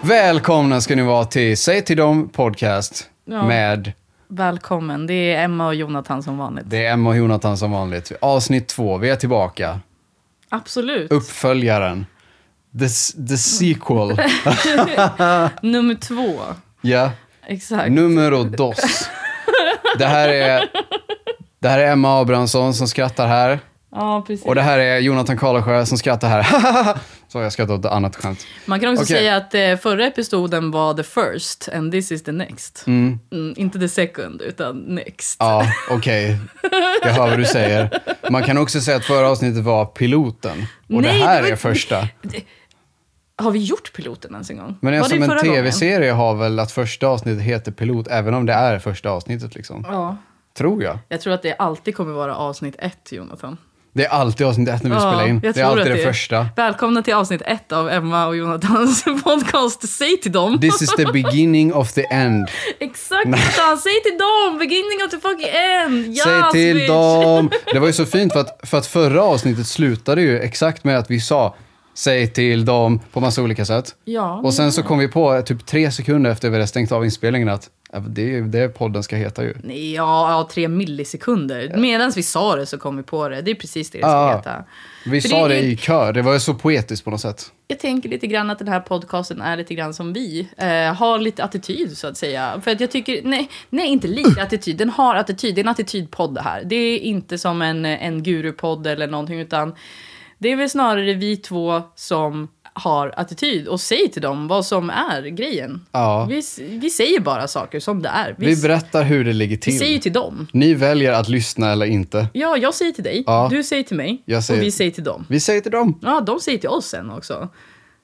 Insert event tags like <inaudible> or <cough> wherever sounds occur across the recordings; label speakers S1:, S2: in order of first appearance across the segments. S1: Välkomna ska ni vara till Säg till dem podcast
S2: Ja.
S1: med
S2: Välkommen, det är Emma och Jonathan som vanligt.
S1: det är Emma och Jonathan som vanligt. Avsnitt två, vi är tillbaka.
S2: Absolut.
S1: Uppföljaren. The, s- the sequel.
S2: <laughs> Nummer två.
S1: Ja.
S2: Exakt.
S1: Numero dos. Det här är, det här är Emma Abrahamsson som skrattar här.
S2: ja, precis.
S1: Och det här är Jonathan Karlsjö som skrattar här. <laughs> Så jag skrattar åt ett annat skämt.
S2: Man kan också
S1: Okej.
S2: säga att eh, förra episoden var the first and this is the next. Mm, inte the second, utan next.
S1: Ja, okej. Jag hör vad du säger. Man kan också säga att förra avsnittet var piloten. Och
S2: Nej,
S1: det här
S2: det var-
S1: är första.
S2: <laughs> Har vi gjort piloten ens en gång?
S1: Men
S2: Var det
S1: eftersom en
S2: förra gången?
S1: tv-serie har väl att första avsnittet heter pilot, även om det är första avsnittet liksom.
S2: Ja.
S1: Tror jag.
S2: Jag tror att det alltid kommer vara avsnitt ett, Jonathan.
S1: Det är alltid avsnitt ett när vi spelar in.
S2: jag
S1: Det är
S2: tror
S1: alltid
S2: att
S1: det första.
S2: Välkomna till avsnitt ett av Emma och Jonathans <laughs> podcast. Säg till dem.
S1: This is the beginning of the end.
S2: Exakt, Jonathan. säg till dem. Beginning of the fucking end. <laughs> Ja,
S1: Säg till
S2: switch. <laughs>
S1: dem! Det var ju så fint för att, för att förra avsnittet slutade ju exakt med att vi sa Säg till dem på massa olika sätt.
S2: Ja.
S1: Och sen så kom vi på typ tre sekunder efter vi hade stängt av inspelningen att "Ja, det är ju det podden ska heta ju.
S2: Ja, ja, tre millisekunder. Medan vi sa det så kom vi på det. Det är precis det det ska
S1: Ja.
S2: heta.
S1: Vi
S2: För
S1: sa
S2: det
S1: det
S2: är ju-
S1: i kör, det var ju så poetiskt på något sätt.
S2: Jag tänker lite grann att den här podcasten är lite grann som vi. Eh, har lite attityd så att säga. För att jag tycker, nej, nej inte lite attityd. Den har attityd. Det är en attitydpodd det här. Det är inte som en, en gurupodd eller någonting utan det är väl snarare vi två som har attityd och säger till dem vad som är grejen.
S1: Ja.
S2: Vi, s- vi säger bara saker som det är. Vi,
S1: Vi
S2: s-
S1: berättar hur det ligger
S2: vi säger
S1: till.
S2: till dem.
S1: Ni väljer att lyssna eller inte.
S2: Ja, jag säger till dig,
S1: Ja.
S2: du säger till mig
S1: Jag säger-
S2: och vi säger till dem.
S1: Vi säger till dem.
S2: Ja, de säger till oss sen också.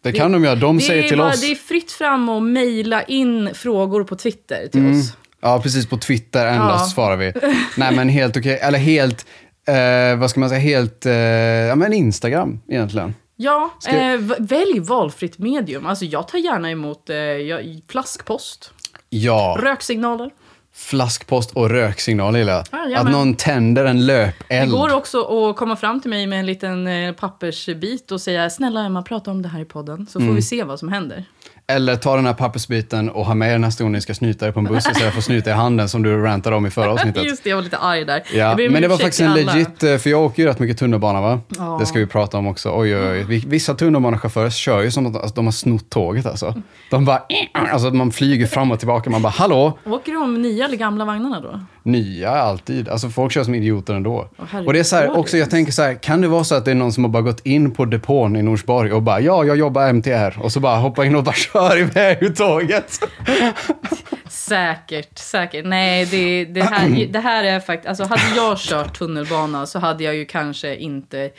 S1: Det kan de göra, de säger
S2: är
S1: till
S2: bara-
S1: oss.
S2: det är fritt fram att mejla in frågor på Twitter till
S1: Mm.
S2: oss.
S1: Ja, precis. På Twitter endast
S2: Ja.
S1: svarar
S2: <laughs>
S1: vi. Nej, men helt okej. Eller helt, eh, vad ska man säga, helt, eh, ja men Instagram egentligen.
S2: Ja,
S1: Ska-
S2: eh, v- välj valfritt medium. Alltså, jag tar gärna emot eh, jag, flaskpost,
S1: Ja,
S2: röksignaler.
S1: flaskpost och röksignal gillar jag.
S2: Ja, jajamän.
S1: Att någon tänder en
S2: Det
S1: löpeld.
S2: går också att komma fram till mig med en liten eh, pappersbit och säga snälla Emma, prata om det här i podden så får
S1: Mm.
S2: vi se vad som händer.
S1: Eller ta den här pappersbiten och ha med den här stolen när ni ska snyta dig på en buss istället för att snyta i handen som du rantade om i förra avsnittet.
S2: Just det, jag var lite arg där.
S1: Ja,
S2: Jag ber om
S1: men det var
S2: ursäkt
S1: faktiskt
S2: till
S1: en
S2: alla.
S1: legit, eh, för jag åker ju rätt mycket tunnelbana va?
S2: Ja.
S1: Det ska vi prata om också. Oj, oj, oj. Vi- Vissa tunnelbanechaufförer kör ju som att alltså, de har snott tåget alltså. De bara, <clears throat> alltså man flyger fram och tillbaka. Man bara, hallå,
S2: Åker de nya eller gamla vagnarna då?
S1: nya alltid. Alltså folk kör som idioter ändå.
S2: herregud,
S1: och det är så här,
S2: går
S1: också,
S2: det
S1: jag tänker så här, kan det vara så att det är någon som har bara gått in på depån i Norsborg och bara, ja, jag jobbar MTR. Och så bara hoppar in och bara <laughs> kör iväg ur tåget.
S2: Säkert, säkert. Nej, det, det, här, det här är faktiskt... Alltså hade jag kört tunnelbana så hade jag ju kanske inte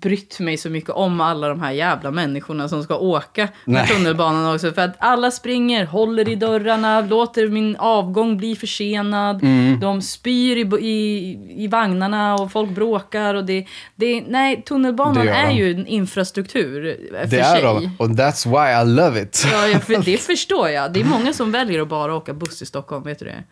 S2: brytt mig så mycket om alla de här jävla människorna som ska åka med
S1: Nej.
S2: tunnelbanan också. För att alla springer, håller i dörrarna, låter min avgång bli försenad.
S1: Mm.
S2: De spyr i, bo- i, i vagnarna och folk bråkar och det... det nej,
S1: Det
S2: tunnelbanan
S1: gör
S2: är
S1: de.
S2: ju en infrastruktur för
S1: Det är
S2: sig.
S1: de. Och that's why I love it.
S2: Ja, ja, för det förstår jag. Det är många som väljer att bara åka buss i Stockholm, vet du det?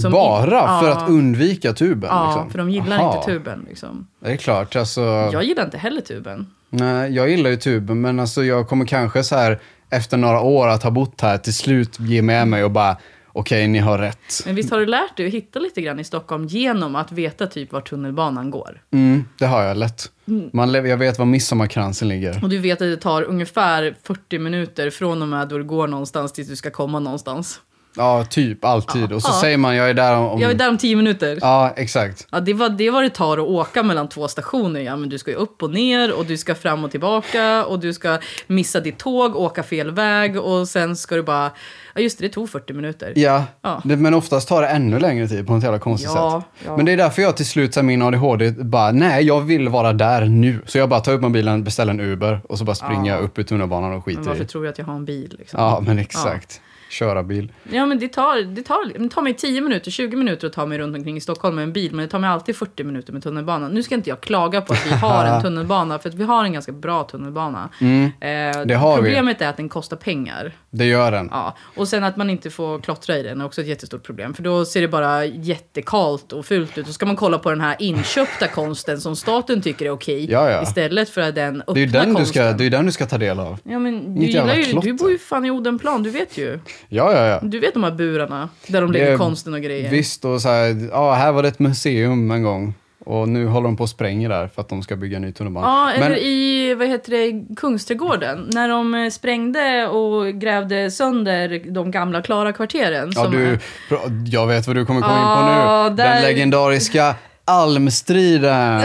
S2: Som
S1: bara
S2: Ja.
S1: för att liksom. undvika tuben.
S2: Ja,
S1: liksom.
S2: för de gillar
S1: Aha.
S2: inte tuben. Liksom.
S1: Det är klart, alltså.
S2: Jag gillar inte heller tuben.
S1: Nej, jag gillar ju tuben, men alltså jag kommer kanske så här efter några år att ha bott här till slut ge med mig och bara okej, ni har rätt.
S2: Men visst har du lärt dig att hitta lite grann i Stockholm genom att veta typ var tunnelbanan går?
S1: Mm, det har jag lätt.
S2: Mm.
S1: Man lever, jag vet var midsommarkransen ligger.
S2: Och du vet att det tar ungefär 40 minuter från och med då du går någonstans tills du ska komma någonstans.
S1: Ja, typ alltid. Och så
S2: Ja.
S1: säger man jag är där om...
S2: Jag är där om 10 minuter.
S1: Ja, exakt.
S2: Ja, det var det var det tar att åka mellan två stationer. Ja, men du ska ju upp och ner och du ska fram och tillbaka och du ska missa ditt tåg, åka fel väg och sen ska du bara... Ja, just det, det tog 40 minuter.
S1: Ja,
S2: Ja.
S1: Det, men oftast tar det ännu längre tid på något jävla konstigt
S2: Ja,
S1: sätt.
S2: ja.
S1: Men det är därför jag till slut, så här, min ADHD, bara nej, jag vill vara där nu. Så jag bara tar upp mobilen, beställer en Uber och så bara springer jag upp i tunnelbanan och skiter
S2: Men varför
S1: i.
S2: tror jag att jag har en bil? Liksom?
S1: Ja, men exakt. köra bil.
S2: Ja, men det tar, det, tar, det tar mig 10 minuter, 20 minuter att ta mig runt omkring i Stockholm med en bil. Men det tar mig alltid 40 minuter med tunnelbanan. Nu ska inte jag klaga på att vi
S1: <laughs>
S2: har en tunnelbana, för att vi har en ganska bra tunnelbana. Eh,
S1: Mm. Det har vi.
S2: problemet är att den kostar pengar.
S1: Det gör den.
S2: Ja. Och sen att man inte får klottra i den är också ett jättestort problem. För då ser det bara jättekalt och fult ut. Och ska man kolla på den här inköpta konsten som staten tycker är okej.
S1: Ja, ja.
S2: Istället för den öppna
S1: Det är ju den du, ska,
S2: konsten.
S1: det är ju den du ska ta del av.
S2: Ja, men du,
S1: Mitt jävla
S2: gillar ju,
S1: klotter.
S2: du bor ju fan i Odenplan, du vet ju.
S1: Ja, ja, ja.
S2: Du vet de här burarna där de lägger
S1: Det-
S2: konsten och grejer.
S1: Visst, och så här, ja, här var det ett museum en gång. Och nu håller de på och spränger där för att de ska bygga en ny tunnelbana.
S2: Ja, eller
S1: Men-
S2: i vad heter det, Kungsträdgården. När de eh, sprängde och grävde sönder de gamla Klara-kvarteren.
S1: Ja,
S2: som-
S1: du, bra- jag vet vad du kommer komma
S2: Ja,
S1: in på nu. Den
S2: där-
S1: legendariska almstriden.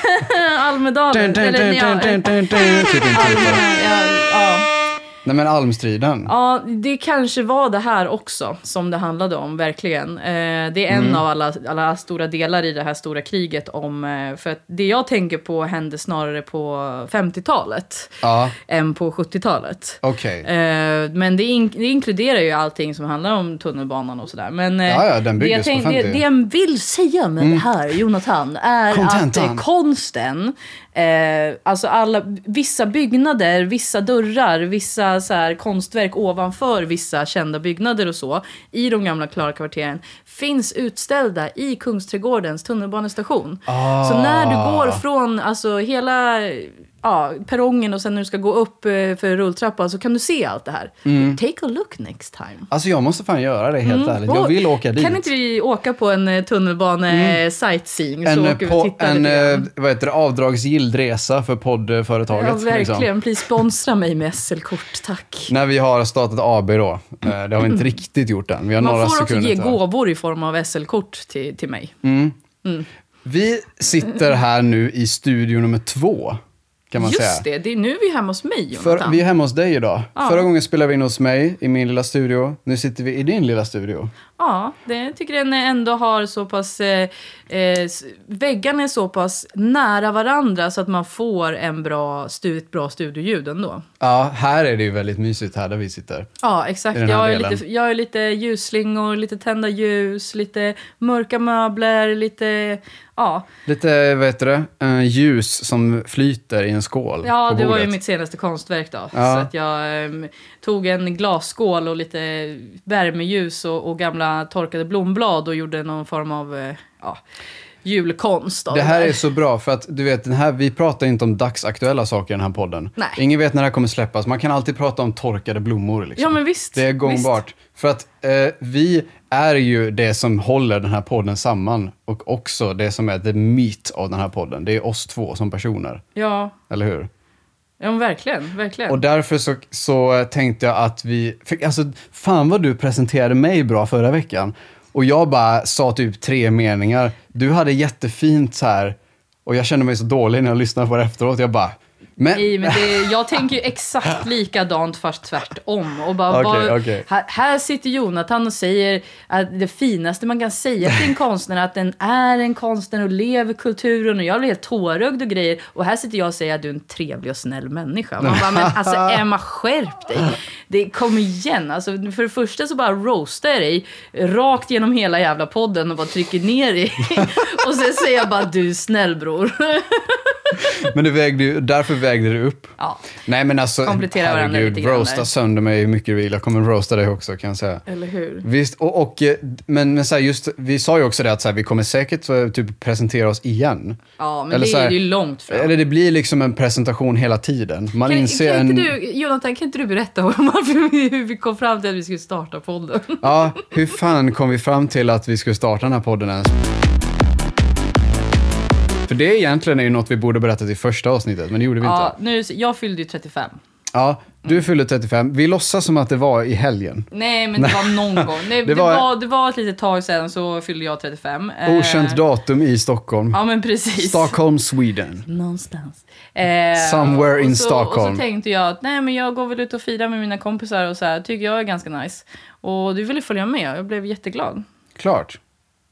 S2: <laughs> Almedalen.
S1: Dun, dun,
S2: eller,
S1: dun,
S2: ja,
S1: dun, dun, dun, dun. Typ en
S2: Alme-
S1: tunnelbana.
S2: ja, ja.
S1: Nej men almstriden.
S2: Ja, det kanske var det här också som det handlade om, verkligen. Eh, det är en av alla, alla stora delar i det här stora kriget om... Eh, för att det jag tänker på hände snarare på 50-talet
S1: Ja,
S2: än på 70-talet.
S1: okej.
S2: Eh, men det, in, det inkluderar ju allting som handlar om tunnelbanan och sådär. Men eh,
S1: Ja, ja, den
S2: det, jag
S1: byggdes på
S2: tänk, det,
S1: 50.
S2: det jag vill säga med det här, Jonathan, är
S1: Kontentan.
S2: att eh, konsten, eh, alltså alla, vissa byggnader, vissa dörrar, vissa så här, konstverk ovanför vissa kända byggnader och så, i de gamla Klara-kvarteren, finns utställda i Kungsträdgårdens tunnelbanestation.
S1: Ah.
S2: Så när du går från alltså, hela ja, perrongen och sen när du ska gå upp eh, för rulltrappan så kan du se allt det här.
S1: Mm.
S2: Take a look next time.
S1: Alltså jag måste fan göra det helt ärligt. Jag
S2: Mm. Och
S1: vill åka dit. Mm.
S2: Kan inte vi åka på en eh, tunnelbane eh, sightseeing? så
S1: en, eh,
S2: åker vi och
S1: på,
S2: tittar
S1: en
S2: lite grann.
S1: eh, vad heter det, avdragsgill resa för poddföretaget.
S2: Ja, verkligen.
S1: liksom.
S2: Please sponsra mig med SL-kort, tack.
S1: När vi har startat AB då. Eh, Det har vi inte riktigt gjort än. Vi har
S2: Mm. Man
S1: några
S2: får också
S1: sekunder
S2: ge
S1: kvar.
S2: gåvor i form av SL-kort till, till mig.
S1: Vi sitter här nu i studio nummer två. Kan man
S2: Just
S1: säga.
S2: det, det är nu vi är hemma hos mig,
S1: För,
S2: Jonathan.
S1: vi är hemma hos dig idag.
S2: Ja.
S1: Förra gången spelade vi in hos mig i min lilla studio. Nu sitter vi i din lilla studio.
S2: Ja, det tycker jag den ändå har så pass... Eh, eh, s- väggarna är så pass nära varandra så att man får en bra, stu, ett bra studioljud ändå.
S1: Ja, här är det ju väldigt mysigt här där vi sitter.
S2: Ja,
S1: I
S2: exakt.
S1: den här
S2: Jag är,
S1: delen.
S2: lite, jag är lite ljusslingor, lite tända ljus, lite mörka möbler, lite... Ja,
S1: Lite, vad heter det, eh, ljus som flyter i en skål
S2: ja
S1: på
S2: det var ju
S1: bordet.
S2: mitt senaste konstverk då.
S1: Ja.
S2: Så att jag ehm, tog en glasskål och lite värmeljus och, och gamla torkade blomblad och gjorde någon form av eh, ja, julkonst. av
S1: Det här
S2: där.
S1: är så bra för att du vet, den här, vi pratar inte om dagsaktuella saker i den här podden.
S2: Nej.
S1: Ingen vet när det här kommer släppas. Man kan alltid prata om torkade blommor. Liksom.
S2: Ja, men visst.
S1: Det är gångbart. För att eh, vi är ju det som håller den här podden samman och också det som är the meat av den här podden. Det är oss två som personer,
S2: Ja,
S1: eller hur?
S2: ja men verkligen. verkligen.
S1: Och därför så, så tänkte jag att vi... För, alltså, fan vad du presenterade mig bra förra veckan. Och jag bara sa typ tre meningar. Du hade jättefint så här och jag kände mig så dålig när jag lyssnade på det efteråt. Jag bara... Men,
S2: Nej, men det, jag tänker ju exakt likadant fast tvärtom. Och bara,
S1: Okej,
S2: bara,
S1: okej.
S2: Här, här sitter Jonathan och säger att det finaste man kan säga
S1: <laughs>
S2: till en konstnär är att den är en konstnär och lever kulturen och jag blir helt tårögd och grejer. Och här sitter jag och säger att du är en trevlig och snäll människa. Man bara, men
S1: <laughs>
S2: alltså Emma skärp dig. Det, kom igen, alltså, för det första så bara roastar jag dig rakt genom hela jävla podden och bara trycker ner dig. <laughs> och sen säger jag bara du är snäll bror. <laughs>
S1: men det vägde, ju- därför vägde det upp.
S2: ja.
S1: Nej men alltså,
S2: Komplettera varandra lite grann där.
S1: roasta sönder mig hur mycket du vill. Jag kommer roasta dig också kan jag säga.
S2: Eller hur?
S1: Visst, och, och eh, men, men så här, just, vi sa ju också det att så här, vi kommer säkert eh, typ presentera oss igen.
S2: Ja, men
S1: Eller
S2: det
S1: så
S2: är
S1: här-
S2: ju långt fram.
S1: Eller det blir liksom en presentation hela tiden. Man
S2: kan,
S1: inser
S2: kan
S1: en...
S2: inte du, Jonathan, kan inte du berätta <laughs> om varför vi, hur vi kom fram till att vi skulle starta podden?
S1: Ja, hur fan kom vi fram till att vi skulle starta den här podden ens? För det egentligen är ju något vi borde berättat i första avsnittet, men det gjorde vi
S2: Ja,
S1: inte.
S2: nu, jag fyllde ju 35.
S1: Ja, du fyllde 35. Vi låtsas som att det var i helgen.
S2: Nej, men det var
S1: <laughs>
S2: någon gång. Nej, det,
S1: Det
S2: var...
S1: var-
S2: det var ett litet tag sedan så fyllde jag 35. Eh,
S1: Okänt datum i Stockholm.
S2: Ja, men precis.
S1: Stockholm, Sweden.
S2: Någonstans. Eh,
S1: Somewhere in
S2: och så, Och
S1: Stockholm.
S2: så tänkte jag att nej, men jag går väl ut och firar med mina kompisar och så här, tycker jag är ganska nice. Och du ville följa med, jag blev jätteglad.
S1: Klart.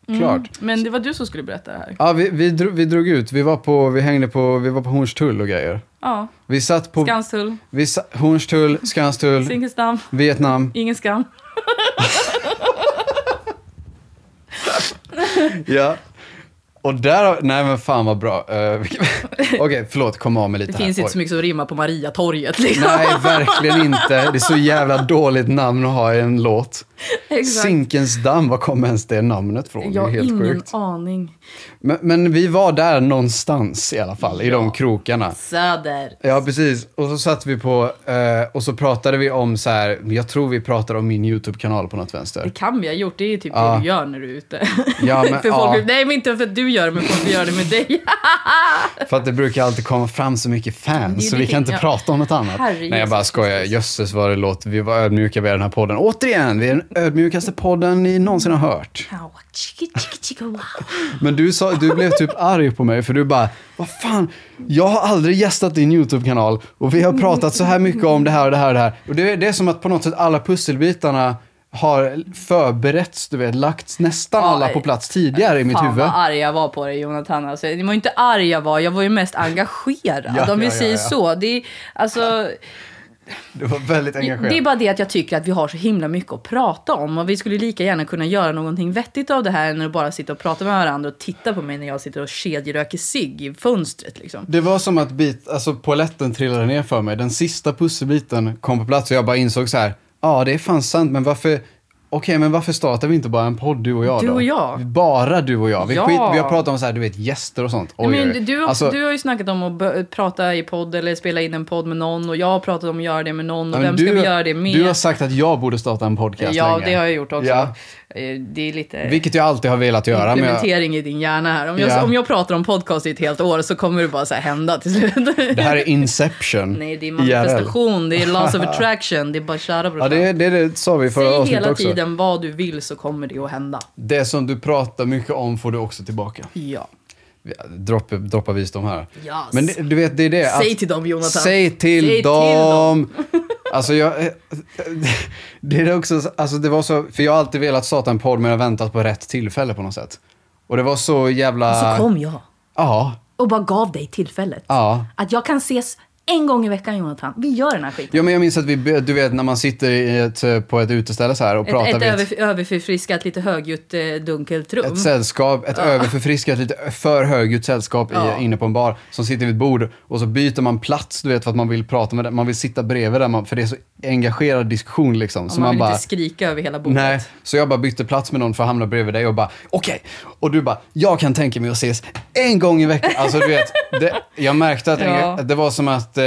S2: Mm.
S1: Klart.
S2: Men det var du som skulle berätta det här.
S1: Ja, vi, vi, drog, vi drog ut. Vi var på, vi hängde på, vi var på Hornstull och grejer.
S2: Ja,
S1: Vi satt på...
S2: Skanstull,
S1: Vi sa, Hornstull, Skanstull,
S2: Zinkensdamm,
S1: Vietnam.
S2: ingen skam.
S1: Ja. Och där, nej men fan vad bra. Eh, vilken- Okej, förlåt, kom av mig lite
S2: Det
S1: här.
S2: finns inte
S1: Oj.
S2: så mycket som rimmar på Mariatorget. Liksom.
S1: Nej, verkligen inte. Det är så jävla dåligt namn att ha i en låt.
S2: <laughs> Exakt.
S1: Zinkens damm, var kom ens det namnet från?
S2: Jag
S1: det är
S2: har
S1: helt
S2: ingen
S1: sjukt.
S2: aning.
S1: Men, men vi var där någonstans i alla fall, i de krokarna.
S2: Söder.
S1: Ja, precis. Och så satt vi på, eh, och så pratade vi om så här, jag tror vi pratade om min YouTube-kanal på något
S2: Det <laughs>
S1: vänster.
S2: kan vi ha gjort, det är typ
S1: Ja.
S2: det du gör när du är ute.
S1: Ja, men-
S2: <laughs> för folk,
S1: ja.
S2: Nej men inte för att du gör det, men folk gör det
S1: <laughs>
S2: med dig.
S1: För att det brukar alltid komma fram så mycket
S2: Det är ju
S1: fans, så vi
S2: lite-
S1: kan inte
S2: ja.
S1: prata om något annat.
S2: Herre
S1: Nej, jag bara
S2: Jesus
S1: skojar.
S2: Kristus.
S1: Jösses vad det låter. Vi var ödmjuka vid den här podden. Återigen, vi är den ödmjukaste podden ni någonsin har hört. Men du, sa, du blev typ arg på mig för du bara, vad fan, jag har aldrig gästat din YouTube-kanal och vi har pratat så här mycket om det här och det här och det här. Och det, är- det är som att på något sätt alla pusselbitarna har förberetts, du vet, lagts nästan
S2: Ja,
S1: alla på plats tidigare i mitt
S2: Fan
S1: huvud.
S2: vad arg jag var på dig Jonathan. Alltså, det var ju inte arg jag var, jag var ju mest engagerad.
S1: Ja,
S2: om vi
S1: ja, ja,
S2: säger
S1: ja.
S2: så. Det är, alltså,
S1: Det var väldigt engagerat.
S2: Det är bara det att jag tycker att vi har så himla mycket att prata om. Och vi skulle lika gärna kunna göra någonting vettigt av det här än att bara sitta och prata med varandra och titta på mig när jag sitter och kedjeröker cigg i fönstret liksom.
S1: Det var som att bit, alltså poletten trillade ner för mig. Den sista pusselbiten kom på plats och jag bara insåg så här, ja det är fan sant, men varför Okej, men varför startar vi inte bara en podd, du och jag
S2: Du
S1: då?
S2: och jag.
S1: Bara du och jag. Vi,
S2: Ja.
S1: skit, vi har pratat om så här, du vet, gäster och sånt. Oj,
S2: Nej,
S1: oj, oj.
S2: men du, har-
S1: Alltså,
S2: du har ju snackat om att bö- prata i podd eller spela in en podd med någon och jag har pratat om att göra det med någon
S1: ja,
S2: och
S1: men
S2: vem ska vi göra det med?
S1: Du har sagt att jag borde starta en podcast
S2: ja,
S1: länge.
S2: det har jag gjort också.
S1: Ja,
S2: Eh, Det är lite
S1: vilket jag alltid har velat göra. Men jag,
S2: implementering i din hjärna här. Om jag,
S1: Ja.
S2: om jag pratar om podcast i ett helt år så kommer det bara så här hända till slut.
S1: det här är Inception.
S2: <laughs> Nej, det är
S1: IRL.
S2: manifestation, det är
S1: <laughs>
S2: laws of attraction, det är bara köra brorsan.
S1: Ja, det, det, det sa vi i förra
S2: Säg
S1: avsnittet
S2: hela
S1: också.
S2: tiden vad du vill så kommer det att hända.
S1: Det som du pratar mycket om får du också tillbaka.
S2: Ja.
S1: Droppa, droppa visdom här.
S2: Yes.
S1: Men det, du vet, det är det. att-
S2: Säg till dem Jonathan.
S1: Säg till
S2: Säg till
S1: dem! <laughs> alltså jag... eh, Det är också, alltså det var så, för jag har alltid velat starta en podd men jag har väntat på rätt tillfälle på något sätt. Och det var så jävla...
S2: Och så kom jag
S1: Ja,
S2: och bara gav dig tillfället.
S1: ja.
S2: Att jag kan ses en gång i veckan Jonathan. Vi gör den här skiten.
S1: Ja men jag minns att vi, du vet när man sitter i ett, eh, på ett uteställe så här och pratar
S2: ett ett
S1: vid
S2: över, överförfriskat, lite högljutt eh, dunkelt rum.
S1: ett sällskap, ett överförfriskat, lite för högljutt sällskap
S2: Ja.
S1: i, inne på en bar som sitter vid ett bord och så byter man plats, du vet, för att man vill prata med den. Man vill sitta bredvid där, man, för det är så engagerad diskussion liksom.
S2: Och
S1: Så
S2: man,
S1: man
S2: vill
S1: bara,
S2: inte skrika över hela bordet.
S1: Nej, så jag bara bytte plats med någon för att hamna bredvid dig och bara okej. Och du bara, jag kan tänka mig att ses en gång i veckan. Alltså du vet, det, jag märkte att
S2: <laughs> Ja.
S1: det var som att eh,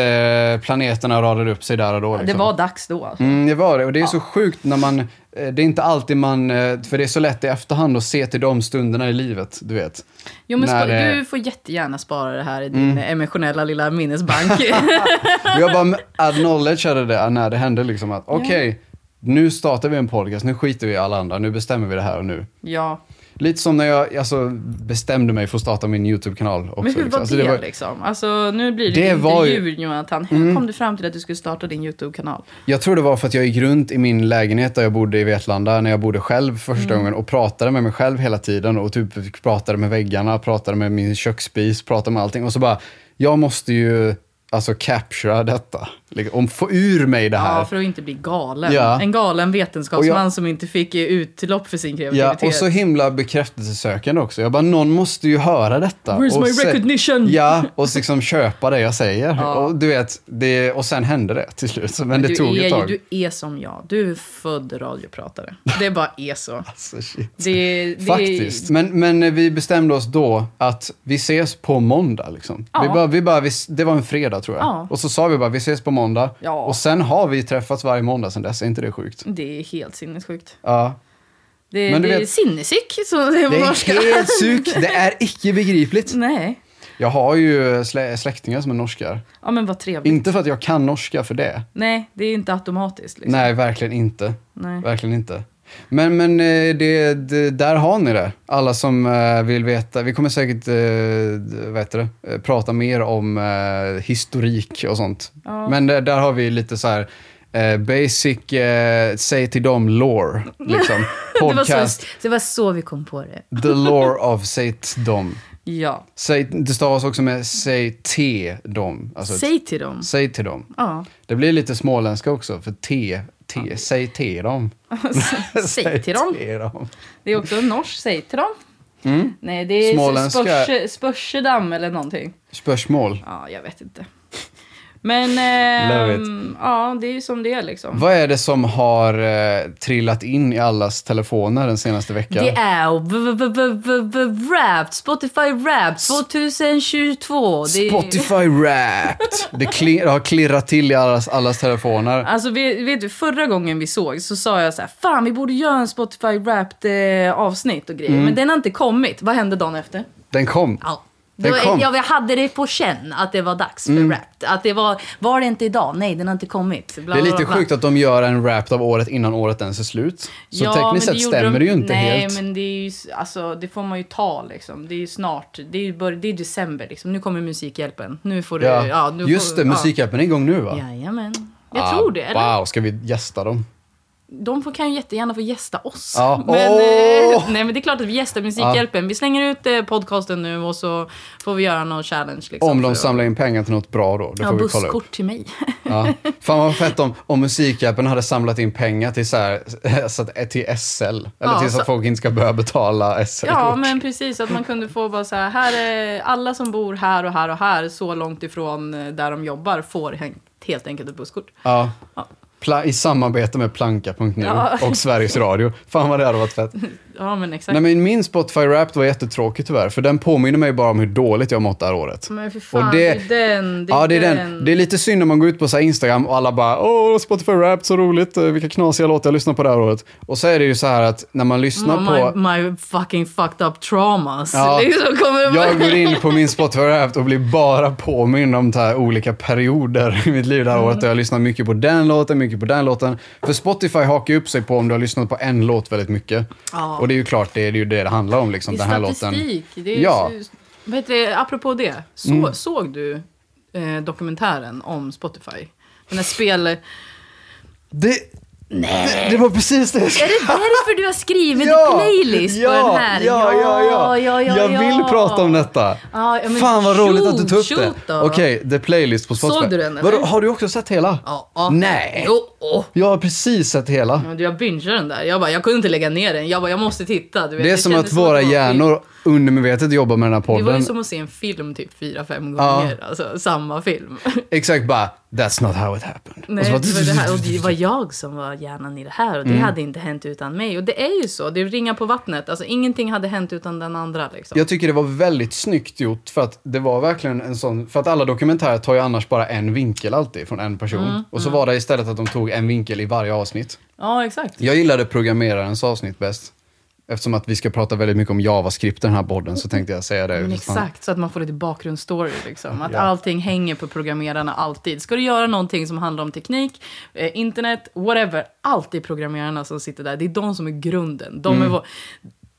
S1: planeterna radade upp sig där och då. Liksom.
S2: Det var dags då alltså.
S1: Mm, det var det. Och det är så sjukt när man... eh, Det är inte alltid man... eh, För det är så lätt i efterhand att se till de stunderna i livet, du vet.
S2: Jo, men
S1: När
S2: spa-
S1: det- Mm.
S2: Du får jättegärna spara det här i din emotionella lilla
S1: <laughs>
S2: minnesbank.
S1: Och jag bara <laughs> acknowledgeade det när det hände liksom att okej, nu startar vi en podcast, nu skiter vi i alla andra, nu bestämmer vi det här och nu.
S2: ja.
S1: Lite som när jag alltså, bestämde mig för att starta min YouTube-kanal också.
S2: Men hur
S1: liksom.
S2: var
S1: Alltså,
S2: det,
S1: det var-
S2: liksom? Alltså nu blir det,
S1: Det var ju-
S2: intervju Jonathan. Hur kom du fram till att du skulle starta din YouTube-kanal?
S1: Jag tror det var för att jag gick runt i min lägenhet där jag bodde i Vetlanda när jag bodde själv första
S2: Mm.
S1: gången och pratade med mig själv hela tiden och typ pratade med väggarna, pratade med min köksspis, pratade med allting och så bara, jag måste ju alltså captura detta. Liksom, och få ur mig det här.
S2: Ja, för att inte bli galen.
S1: Ja.
S2: En galen
S1: Och
S2: vetenskapsman
S1: jag-
S2: som inte fick eh, utlopp för sin
S1: Ja,
S2: kreativitet.
S1: och så himla bekräftelsesökande också. Jag bara, någon måste ju höra detta.
S2: Where's
S1: och
S2: my
S1: se-
S2: recognition?
S1: Ja, och så liksom köpa det jag säger.
S2: <laughs> Ja.
S1: Och, du vet, det, och sen hände det till slut. Men det
S2: du,
S1: tog
S2: är,
S1: ett
S2: ju-
S1: tag.
S2: du är som jag. Du är född radiopratare. Det bara är så.
S1: Alltså, shit.
S2: Det, det,
S1: Faktiskt. Men, men vi bestämde oss då att vi ses på måndag. Liksom.
S2: Ja.
S1: Vi bara, vi bara, vi, det var en fredag tror jag.
S2: Ja.
S1: Och så sa vi bara, vi ses på måndag.
S2: Ja.
S1: Och sen har vi träffats varje måndag sen dess. Är inte det sjukt?
S2: Det är helt sinnessjukt.
S1: Ja.
S2: Det,
S1: Men du
S2: det är
S1: vet-
S2: sinnessyk, så det är
S1: Det
S2: på norska.
S1: är helt
S2: <laughs>
S1: sjukt. Det är icke begripligt.
S2: Nej.
S1: Jag har ju slä, släktingar som är norskar.
S2: Ja, men vad trevligt.
S1: Inte för att jag kan norska för det.
S2: Nej, det är inte automatiskt. Liksom.
S1: Nej, verkligen inte.
S2: Nej.
S1: Verkligen inte. Men, men eh, det, det, där har ni det. Alla som eh, vill veta. Vi kommer säkert eh, d- vad heter det, eh, prata mer om eh, historik och sånt.
S2: Ja.
S1: Men eh, där, där har vi lite så här eh, basic, eh, säg till dem lore. Liksom.
S2: <laughs> det, var så,
S1: Podcast,
S2: det var så vi kom på det.
S1: the
S2: <laughs>
S1: lore of säg till dem.
S2: Ja.
S1: Säg, det stavas också med säg till dem. Alltså,
S2: Säg till dem.
S1: säg till dem.
S2: Ja.
S1: Det blir lite småländska också, för T Te, säg till
S2: <laughs>
S1: dem. <laughs>
S2: Säg till dem.
S1: dem.
S2: Det är också en norsk, säg till dem.
S1: Mm.
S2: Nej, det är
S1: Småländska.
S2: spörse, spörsedam eller någonting.
S1: Spörsmål.
S2: Ja, jag vet inte. Men
S1: Love
S2: ehm, ja, det är ju som det är liksom.
S1: Vad är det som har eh, trillat in i allas telefoner den senaste veckan?
S2: Det är v- v- v- v- v- Wrapped, Spotify Wrapped 2022. Det är-
S1: Spotify Wrapped! Det, kli- det har klirrat till i allas, allas telefoner.
S2: Alltså vet, vet du, förra gången vi såg så sa jag så här, fan vi borde göra en Spotify Wrapped eh, avsnitt och
S1: Mm.
S2: grejer. Men den har inte kommit. Vad hände dagen efter?
S1: Den kom.
S2: Ja.
S1: Den
S2: Då,
S1: kom. Mm.
S2: jag hade det på känn att det var dags för Wrapped. Att det var, var det inte idag? Nej, den har inte kommit. Bla,
S1: Det är
S2: bla,
S1: lite
S2: bla.
S1: sjukt att de gör en Wrapped av året innan året ens är slut. Så
S2: men
S1: tekniskt sett
S2: gjorde
S1: stämmer
S2: de-
S1: det ju inte
S2: Nej,
S1: helt.
S2: men det, är ju, s- alltså, det får man ju ta liksom. Det är ju snart. Det är ju bör- det är december liksom. Nu kommer Musikhjälpen. Nu får du...
S1: Ja.
S2: Ja. nu
S1: Just
S2: får,
S1: det, Musikhjälpen är igång nu va?
S2: Ja. Jajamän. Jag
S1: Ah,
S2: tror det. Eller?
S1: Wow, ska vi gästa dem?
S2: De får, kan ju jättegärna få gästa oss.
S1: Ja.
S2: <laughs> Men,
S1: Åh!
S2: eh, nej, men det är klart att vi gästar Musikhjälpen. Vi slänger ut eh, podcasten nu och så får vi göra någon challenge. Liksom,
S1: Om
S2: för
S1: de
S2: att-
S1: samlar in pengar till något bra då, det
S2: Ja,
S1: får vi kolla upp.
S2: busskort till mig.
S1: Ja. Fan vad fett om, om Musikhjälpen hade samlat in pengar till, så här, <laughs> så att, till SL. Eller
S2: Ja,
S1: tills att
S2: så-
S1: folk inte ska behöva betala SL-kort.
S2: Ja, men precis. Att man kunde få bara så här, här är alla som bor här och här och här, så långt ifrån eh, där de jobbar, får hen- helt enkelt ett busskort.
S1: Ja.
S2: Ja.
S1: Pla- I samarbete med Planka.nu
S2: Ja.
S1: och Sveriges Radio. Fan vad det hade
S2: <laughs>
S1: varit fett.
S2: Ja, men exakt.
S1: Nej, men min Spotify Wrapped var jättetråkig tyvärr, för den påminner mig bara om hur dåligt jag mått det här året.
S2: men för fan,
S1: och
S2: det,
S1: det-
S2: är den. Mm, Det är
S1: ja, det är
S2: den.
S1: den. Det är lite synd när man går ut på så här Instagram och alla bara “Åh, Spotify Wrapped, så roligt, eh, vilka knasiga låtar jag lyssnar på det här året”. Och så är det ju så här att när man lyssnar på...
S2: my, my fucking fucked up traumas.
S1: Ja.
S2: <laughs> Liksom kommer
S1: Jag går in på min Spotify Wrapped och blir bara påmind om så här olika perioder i mitt liv det här året. Och jag lyssnar mycket på den låten, mycket på den låten. För Spotify hakar ju upp sig på om du har lyssnat på en låt väldigt mycket.
S2: Ja.
S1: Och det är ju klart, det är ju det det handlar om. Liksom,
S2: Det
S1: den
S2: är
S1: här låten.
S2: statistik. Det är
S1: Ja. Mm.
S2: s- vet du, apropå det, så, såg du eh, dokumentären om Spotify? Den här spel... Är
S1: Det, det, det var precis det jag skulle
S2: det därför du har skrivit playlist
S1: ja,
S2: på den här?
S1: Ja, ja, ja. jag vill prata om detta.
S2: Ja, ja, men
S1: Fan vad roligt att du tog upp
S2: shoot,
S1: det.
S2: shoot då.
S1: Okej, The Playlist på Spotify.
S2: Såg du den, eller?
S1: Vadå, har du också sett hela?
S2: Ja, ja.
S1: Nej.
S2: Jo, Mm. åh.
S1: Jag har precis sett hela.
S2: Men du, Jag bingeade den där. Jag bara, jag kunde inte lägga ner den. Jag bara, jag måste titta. Du vet,
S1: Det är
S2: det
S1: som
S2: kändes
S1: att våra
S2: det var en film.
S1: hjärnor undermedvetet jobbar med den här
S2: Det var ju
S1: podden.
S2: som att se en film typ fyra, fem
S1: Ja.
S2: gånger. Alltså samma film. <laughs>
S1: Exakt bara, that's not how it happened.
S2: Nej,
S1: så
S2: det
S1: bara-
S2: var, det här,
S1: <laughs>
S2: och det var jag som var hjärnan i det
S1: Mm.
S2: här och det hade inte hänt utan mig. Och det är ju så, det ringar på vattnet. Alltså ingenting hade hänt utan den andra liksom.
S1: Jag tycker det var väldigt snyggt gjort för att det var verkligen en sån, för att alla dokumentärer tar ju annars bara en vinkel alltid från en person.
S2: Mm,
S1: och så var det istället att de tog en vinkel i varje avsnitt.
S2: Ja, exakt.
S1: Jag gillade programmerarens avsnitt bäst. Eftersom att vi ska prata väldigt mycket om JavaScript i den här podden så tänkte jag säga det.
S2: Men
S1: utifrån-
S2: exakt, så att man får lite bakgrundsstory. Liksom. Att
S1: Ja.
S2: allting hänger på programmerarna alltid. Ska du göra någonting som handlar om teknik, eh, internet, whatever. Alltid programmerarna som sitter där. Det är de som är grunden. De
S1: Mm.
S2: är, vår,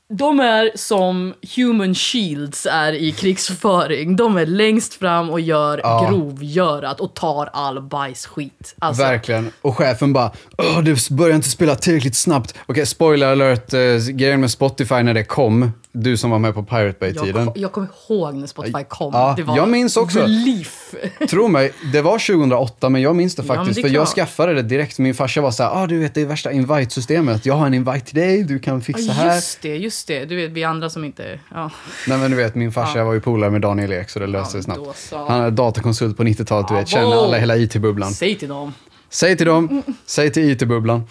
S2: de är som human shields är i krigsföring. De är längst fram och gör
S1: Ja.
S2: grovgörat och tar all bajsskit. Alltså,
S1: Verkligen. Och chefen bara Åh, det börjar inte spela tillräckligt snabbt. Okej, spoiler alert. Eh, grejen med Spotify när det kom, du som var med på Pirate
S2: jag,
S1: Bay-tiden.
S2: kom, jag kommer ihåg när Spotify kom.
S1: Ja,
S2: det var
S1: jag minns också.
S2: Relief.
S1: Tro mig, det var 2008 men jag minns det
S2: Ja, men
S1: faktiskt.
S2: det är
S1: för jag
S2: klart.
S1: skaffade det direkt. Min farsa var så här, ah, du vet det är värsta invite-systemet. Jag har en invite till dig, du kan fixa
S2: Ja,
S1: här.
S2: just det, just det. Du vet, vi andra som inte... Ja.
S1: Nej men du vet, min farsa var ju polare med Daniel Ek så det löste sig
S2: Ja,
S1: snabbt.
S2: då så.
S1: Han är datakonsult på 90-talet, du
S2: Ja,
S1: vet. Känner
S2: wow.
S1: alla, hela IT-bubblan.
S2: Säg till dem.
S1: Säg till dem, säg till IT-bubblan.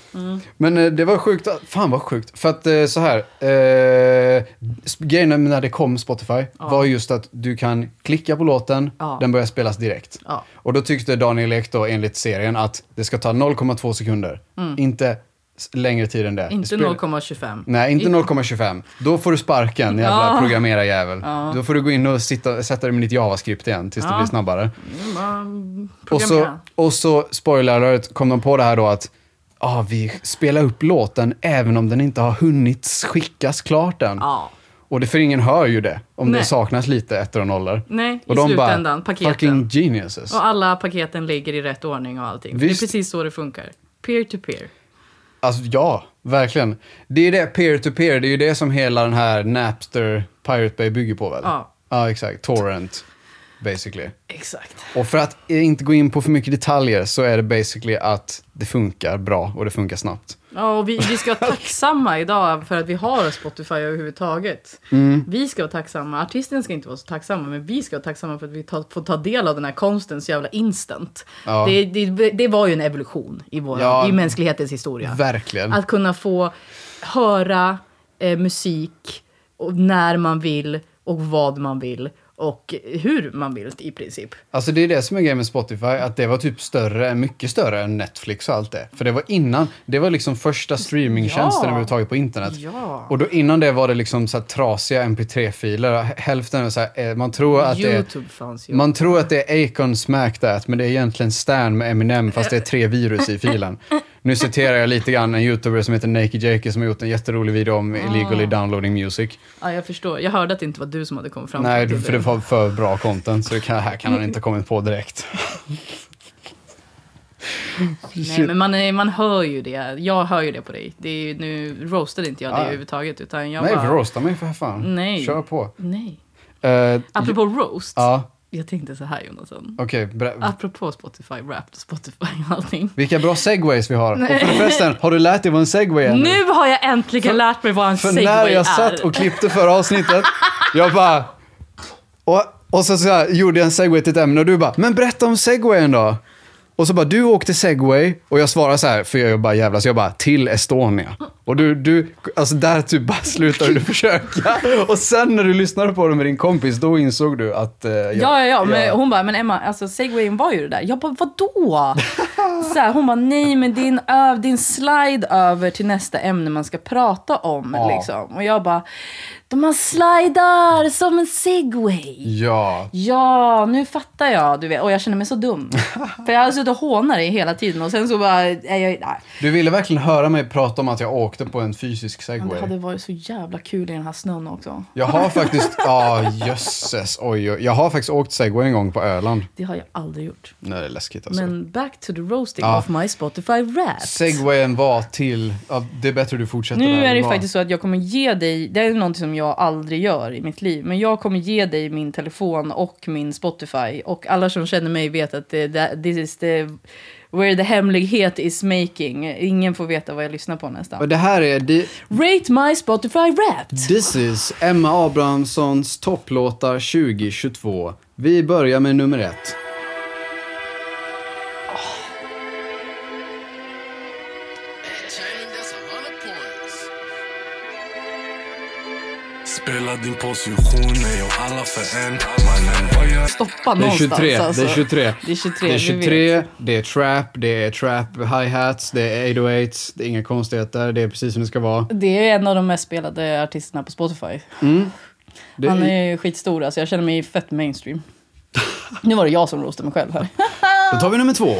S1: Men eh, det var sjukt, att- fan vad sjukt. För att eh, så här, eh, sp- grejen när det kom Spotify var just att du kan klicka på låten,
S2: Ja.
S1: den börjar spelas direkt.
S2: Ja.
S1: Och då tyckte Daniel Ek då enligt serien att det ska ta 0,2 sekunder. Inte s- längre tid än det. Det
S2: Mm. Inte
S1: spelar-
S2: 0,25.
S1: Nej, inte 0,25. Då får du sparken, jävla
S2: Ja.
S1: programmerarjävel. Då får du gå in och sitta, sätta dig med ditt JavaScript igen tills det
S2: Ja.
S1: blir snabbare.
S2: Mm, man
S1: Och så,
S2: programmerar.
S1: och så, spoiler alert, kom de på det här då att ah, vi spelar upp låten även om den inte har hunnit skickas klart än.
S2: Ja.
S1: Och det för ingen hör ju det, om det
S2: Nej.
S1: saknas lite ettor och nollor.
S2: Nej,
S1: och
S2: i slutändan, paketen.
S1: fucking geniuses.
S2: Och alla paketen ligger i rätt ordning och allting.
S1: Visst.
S2: Det är precis så det funkar. Peer-to-peer.
S1: Alltså ja, verkligen. Det är det, peer-to-peer, det är ju det som hela den här Napster Pirate Bay bygger på väl?
S2: Ja.
S1: Ja, exakt. Torrent. basically.
S2: Exakt.
S1: Och för att inte gå in på för mycket detaljer så är det basically att det funkar bra och det funkar snabbt.
S2: Ja, och vi, vi ska vara tacksamma idag för att vi har Spotify överhuvudtaget.
S1: Mm.
S2: Vi ska vara tacksamma. Artisten ska inte vara så tacksamma, men vi ska vara tacksamma för att vi ta, får ta del av den här konsten så jävla instant.
S1: Ja.
S2: Det, det, det var ju en evolution i, vår,
S1: Ja.
S2: i mänsklighetens historia.
S1: Verkligen.
S2: Att kunna få höra eh, musik och när man vill och vad man vill och hur man vill i princip.
S1: Alltså det är det som är grejen med Spotify, att det var typ större, mycket större än Netflix och allt det. För det var innan, det var liksom första streamingtjänsten
S2: Ja.
S1: överhuvudtaget på internet.
S2: Ja.
S1: Och då innan det var det liksom så här trasiga mp3-filer. Hälften är så här, eh, man tror att det är,
S2: Youtube fanns ju.
S1: man tror att det är Akon Smack That, men det är egentligen Stan med Eminem fast det är tre virus i filen. Nu citerar jag lite grann en youtuber som heter Naked Jakey som har gjort en jätterolig video om
S2: Ah.
S1: illegally downloading music.
S2: Ja, jag förstår. Jag hörde att det inte var du som hade kommit fram
S1: Nej,
S2: till
S1: du- för det var för bra content, så det kan, här kan han inte ha kommit på direkt.
S2: Nej, men man, är, man hör ju det. Jag hör ju det på dig. Det är, ju- nu roastade inte jag dig
S1: Ja.
S2: överhuvudtaget. Utan jag
S1: Nej,
S2: bara,
S1: roasta mig för fan.
S2: Nej.
S1: Kör på.
S2: Nej.
S1: Eh,
S2: Apropå roast.
S1: ja, Mm.
S2: Jag tänkte så här Jonathan.
S1: okej. ber-
S2: Apropå Spotify Wrapped och Spotify och allting.
S1: Vilka bra segways vi har.
S2: Nej.
S1: Och för förresten, har du lärt dig vad en segway är?
S2: Nu har jag äntligen lärt mig vad en
S1: För
S2: segway
S1: när jag
S2: är.
S1: satt och klippte förra
S2: <laughs>
S1: avsnittet, jag bara... Och, och så, så här, gjorde jag en segway till ett ämne och du bara, men berätta om segwayen då. Och så bara, du åkte segway och jag svarar så här, för jag är bara jävla, så jag bara, till Estonia. Och du, du alltså där typ bara slutade du
S2: <laughs>
S1: försöka. Och sen när du lyssnade på det med din kompis, då insåg du att... eh, jag,
S2: Ja, ja, ja. Men hon bara, men Emma, alltså segwayen var ju det där. Jag bara, vadå? <laughs> Så här, hon bara, nej men din, öv, din slide över till nästa ämne man ska prata om.
S1: Ja.
S2: Liksom. Och jag bara, de man slidar som en segway.
S1: Ja.
S2: Ja, nu fattar jag. Du vet. Och jag känner mig
S1: <laughs>
S2: så dum. För jag har suttit och hånat dig hela tiden och sen så bara, är jag, nej.
S1: Du ville verkligen höra mig prata om att jag åkte på en fysisk
S2: Men Det
S1: segway.
S2: hade varit så jävla kul i den här snön också.
S1: Jag har faktiskt, ja jösses, oj, oj, jag har faktiskt åkt segway en gång på Öland.
S2: Det har jag aldrig gjort.
S1: Nej, det är läskigt alltså.
S2: Men back to the roasting
S1: Ja.
S2: of my Spotify rap.
S1: Segwayen var till, ja, det är bättre du fortsätter där
S2: Nu är det
S1: den
S2: ju
S1: var.
S2: faktiskt så att jag kommer ge dig, det är någonting som jag aldrig gör i mitt liv, men jag kommer ge dig min telefon och min Spotify. Och alla som känner mig vet att det, det, this is the, where the hemlighet is making. Ingen får veta vad jag lyssnar på
S1: Och
S2: nästan.
S1: det här är, di-
S2: Rate my Spotify Wrapped!
S1: this is Emma Abrahamssons topplåtar 2022. Vi börjar med nummer ett.
S3: Spela din position, nej och alla för en Mannen, vad jag
S2: Stoppa
S1: Det är
S2: någonstans
S1: 23,
S2: alltså.
S1: det är 23.
S2: Det är 23,
S1: Det är 23,
S2: du
S1: det är trap, det är trap hi-hats, det är 808, det är inga konstigheter, det är precis som det ska vara.
S2: Det är en av de mest spelade artisterna på Spotify.
S1: Det
S2: Han är ju skitstor alltså, jag känner mig fett mainstream. nu var det jag som roastade mig själv här.
S1: Då tar vi nummer två.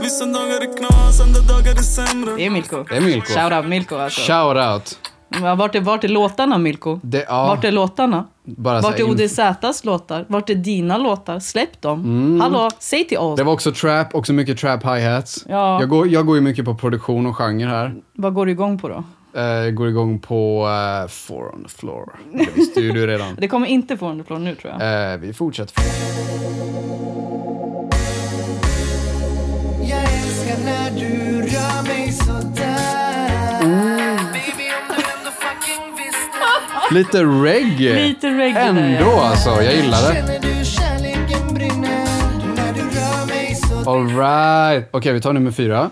S3: Vissa dagar är knas, andra dagar är sämre
S2: Det är Milko.
S1: Det är Milko.
S2: Shout out Milko alltså.
S1: Shout out.
S2: Ja, Vart är, vart är låtarna Milko?
S1: Det, ja, Alltså,
S2: Vart är låtarna?
S1: bara så
S2: Vart
S1: här
S2: är
S1: inf-
S2: ODZs låtar? Vart är dina låtar? Släpp dem. Hallå, säg till oss.
S1: Mm. Det var också trap, också mycket trap hi-hats.
S2: Ja.
S1: Jag, går, jag går ju mycket på produktion och genre här.
S2: Vad går du igång på då?
S1: Eh, går igång på eh, Four on the floor. Det visste ju du
S2: <laughs>
S1: redan.
S2: Det kommer inte från Underplån nu tror jag.
S1: Eh, vi fortsätter.
S4: Jag älskar när du rör mig sådär Baby om du ändå fucking visste
S1: Lite reggae.
S2: Lite reggae där,
S1: Ändå
S2: ja.
S1: alltså, jag gillar det.
S4: Känner du kärleken brinner när du rör mig sådär
S1: Alright. Okej, vi tar nummer fyra.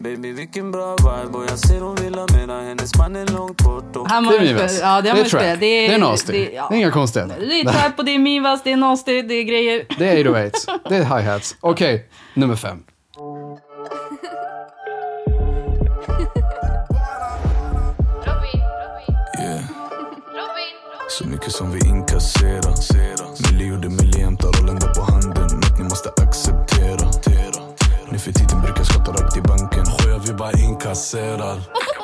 S5: Baby vilken bra vibe och jag ser hon vill ha mera Hennes man är långt bort och
S2: Han
S1: Det
S2: har
S1: är
S2: ju
S1: Mivas.
S2: spelat- Ja, det, har
S1: det
S2: man
S1: är
S2: ju
S1: trap.
S2: spelat.
S1: Det är, nasty. Det
S2: Det,
S1: är,
S2: ja.
S1: inga konstigheter.
S2: det är trap och det är Mivas, det är nasty, det är grejer.
S1: Det är 808. Det är hi-hats. Okej, nummer fem.
S3: yeah. Så mycket som vi inkasserar Milli gjorde Milli hämtar rollen där på handen Något ni måste acceptera Nu för tiden brukar jag skatta rakt i banken Skojar vi bara inkasserar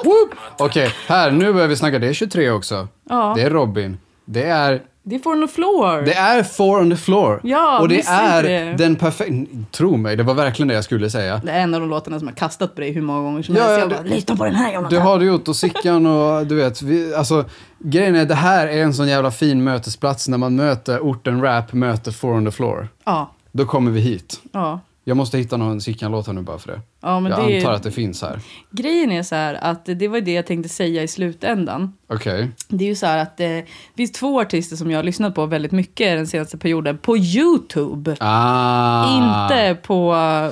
S1: Whoop! Okej, här, nu börjar vi snacka. Det är 23 också.
S2: Ja.
S1: Det är Robin. Det är
S2: Det är for the floor.
S1: Det är four on the floor.
S2: Ja,
S1: och det
S2: missa
S1: är
S2: inte det.
S1: den perfekta... Tro mig, det var verkligen det jag skulle säga.
S2: Det är en av de låtarna som jag kastat på dig hur många gånger som
S1: Ja,
S2: helst.
S1: ja,
S2: Jag
S1: det-
S2: bara, lyssna på den här
S1: Det
S2: Jonathan.
S1: har du gjort och Sickan och du vet, vi, alltså grejen är det här är en sån jävla fin mötesplats när man möter orten rap möter four on the floor.
S2: Ja,
S1: Då kommer vi hit.
S2: ja.
S1: Jag måste hitta någon Sickan-låt här nu bara för det.
S2: Ja, men
S1: jag
S2: det är-
S1: antar att det finns här.
S2: Grejen är så här att det var ju det jag tänkte säga i slutändan.
S1: Okej.
S2: Det är ju så här att eh, det finns två artister som jag har lyssnat på väldigt mycket den senaste perioden på YouTube.
S1: Ah,
S2: Inte på,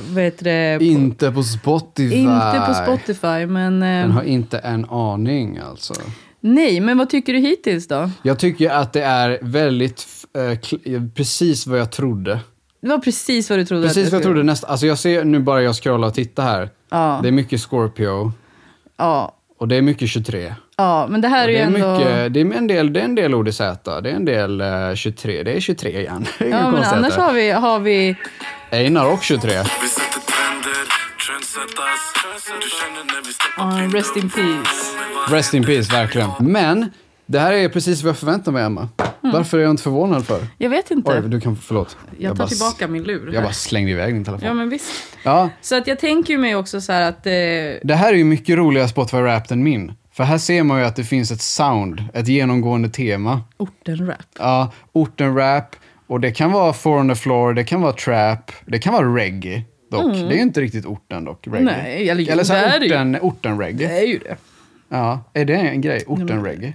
S2: vad heter det, på,
S1: Inte på Spotify.
S2: inte på Spotify men... eh,
S1: Den har inte en aning alltså.
S2: Nej, men vad tycker du hittills då?
S1: Jag tycker att det är väldigt, eh, kl- precis vad jag trodde.
S2: Det var precis vad du trodde.
S1: Precis vad jag
S2: skulle-
S1: trodde. Nästa, alltså jag ser nu bara jag scrollar och tittar här.
S2: Ja.
S1: Det är mycket Scorpio
S2: Ja,
S1: och det är mycket 23.
S2: ja, men det här är ju
S1: Det är,
S2: ändå...
S1: mycket, det, är en del, det är en del ODZ, det är en del eh, 23, det är 23 igen. <laughs> Det är inga
S2: Ja, men
S1: konstigheter.
S2: annars har vi, har vi...
S1: Einar och 23.
S3: Vi sätter trender, trendsettas Du känner när vi steppar
S2: ah,
S3: in
S2: rest in peace.
S1: Rest in peace, verkligen. Men, det här är precis vad jag förväntar mig, Emma. Varför är jag inte förvånad för?
S2: Jag vet inte.
S1: Oj, du kan, förlåt.
S2: Mm. jag tar
S1: bara s-
S2: tillbaka min lur. här.
S1: Jag bara slängde iväg din telefon.
S2: Ja, men visst.
S1: Ja,
S2: Så att jag tänker ju mig också så här att... Eh,
S1: det här är ju mycket roligare Spotify-rap än min. För här ser man ju att det finns ett sound, ett genomgående tema.
S2: orten-rap.
S1: Ja, orten-rap. Och det kan vara four on the floor, det kan vara trap, det kan vara reggae. Dock. Det är ju inte riktigt orten dock, reggae.
S2: Mm. Nej, eller jo,
S1: eller så
S2: det
S1: här
S2: är det ju. Eh.
S1: orten, orten-reggae.
S2: Det är ju det.
S1: Ja, är det en grej? Orten-reggae?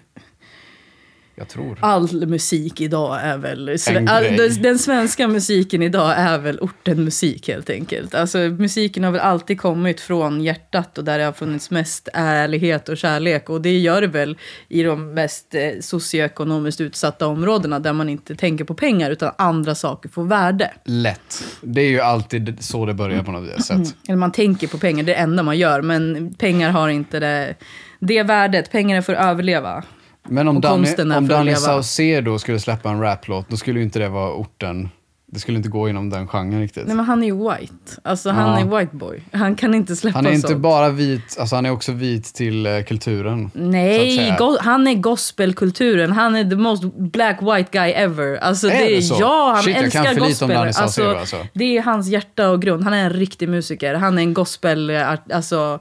S1: Jag tror.
S2: All musik idag är väl...
S1: En
S2: All,
S1: grej.
S2: den, den svenska musiken idag är väl ortenmusik helt enkelt. Alltså musiken har väl alltid kommit från hjärtat och där det har funnits mest ärlighet och kärlek. Och det gör det väl i de mest eh, socioekonomiskt utsatta områdena där man inte tänker på pengar utan andra saker får värde.
S1: Lätt. Det är ju alltid så det börjar på något sätt.
S2: Eller man tänker på pengar, det är det enda man gör. Men pengar har inte det, det värdet. Pengar är för att överleva.
S1: Men om
S2: Och
S1: Danny,
S2: konsten är
S1: om
S2: för att
S1: Danny
S2: leva.
S1: Saucedo skulle släppa en raplåt, då skulle ju inte det vara orten. Det skulle inte gå inom den genren riktigt.
S2: Nej men han är ju white. Alltså han
S1: Ja.
S2: är white boy. Han kan inte släppa
S1: han är inte
S2: sånt.
S1: bara vit, alltså han är också vit till eh, kulturen. så att
S2: Nej,
S1: säga.
S2: go- han är gospelkulturen. Han är the most black white guy ever. Alltså,
S1: Är det så?
S2: Ja, han
S1: Shit, jag
S2: älskar
S1: kan för lite
S2: gospel.
S1: om Danny Saucedo,
S2: alltså,
S1: alltså.
S2: Det är hans hjärta och grund. Han är en riktig musiker. Han är en gospel... eh, art- Alltså,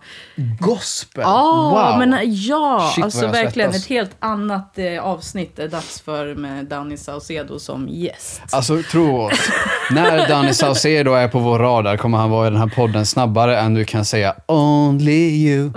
S1: Gospel!
S2: Ja,
S1: wow!
S2: men ja,
S1: Shit, vad
S2: alltså
S1: jag
S2: verkligen
S1: svettas.
S2: ett helt annat eh, avsnitt är dags för med Danny Saucedo som gäst.
S1: Alltså, tro oss. När Danny Saucedo är på vår radar kommer han vara i den här podden snabbare än du kan säga “Only you”.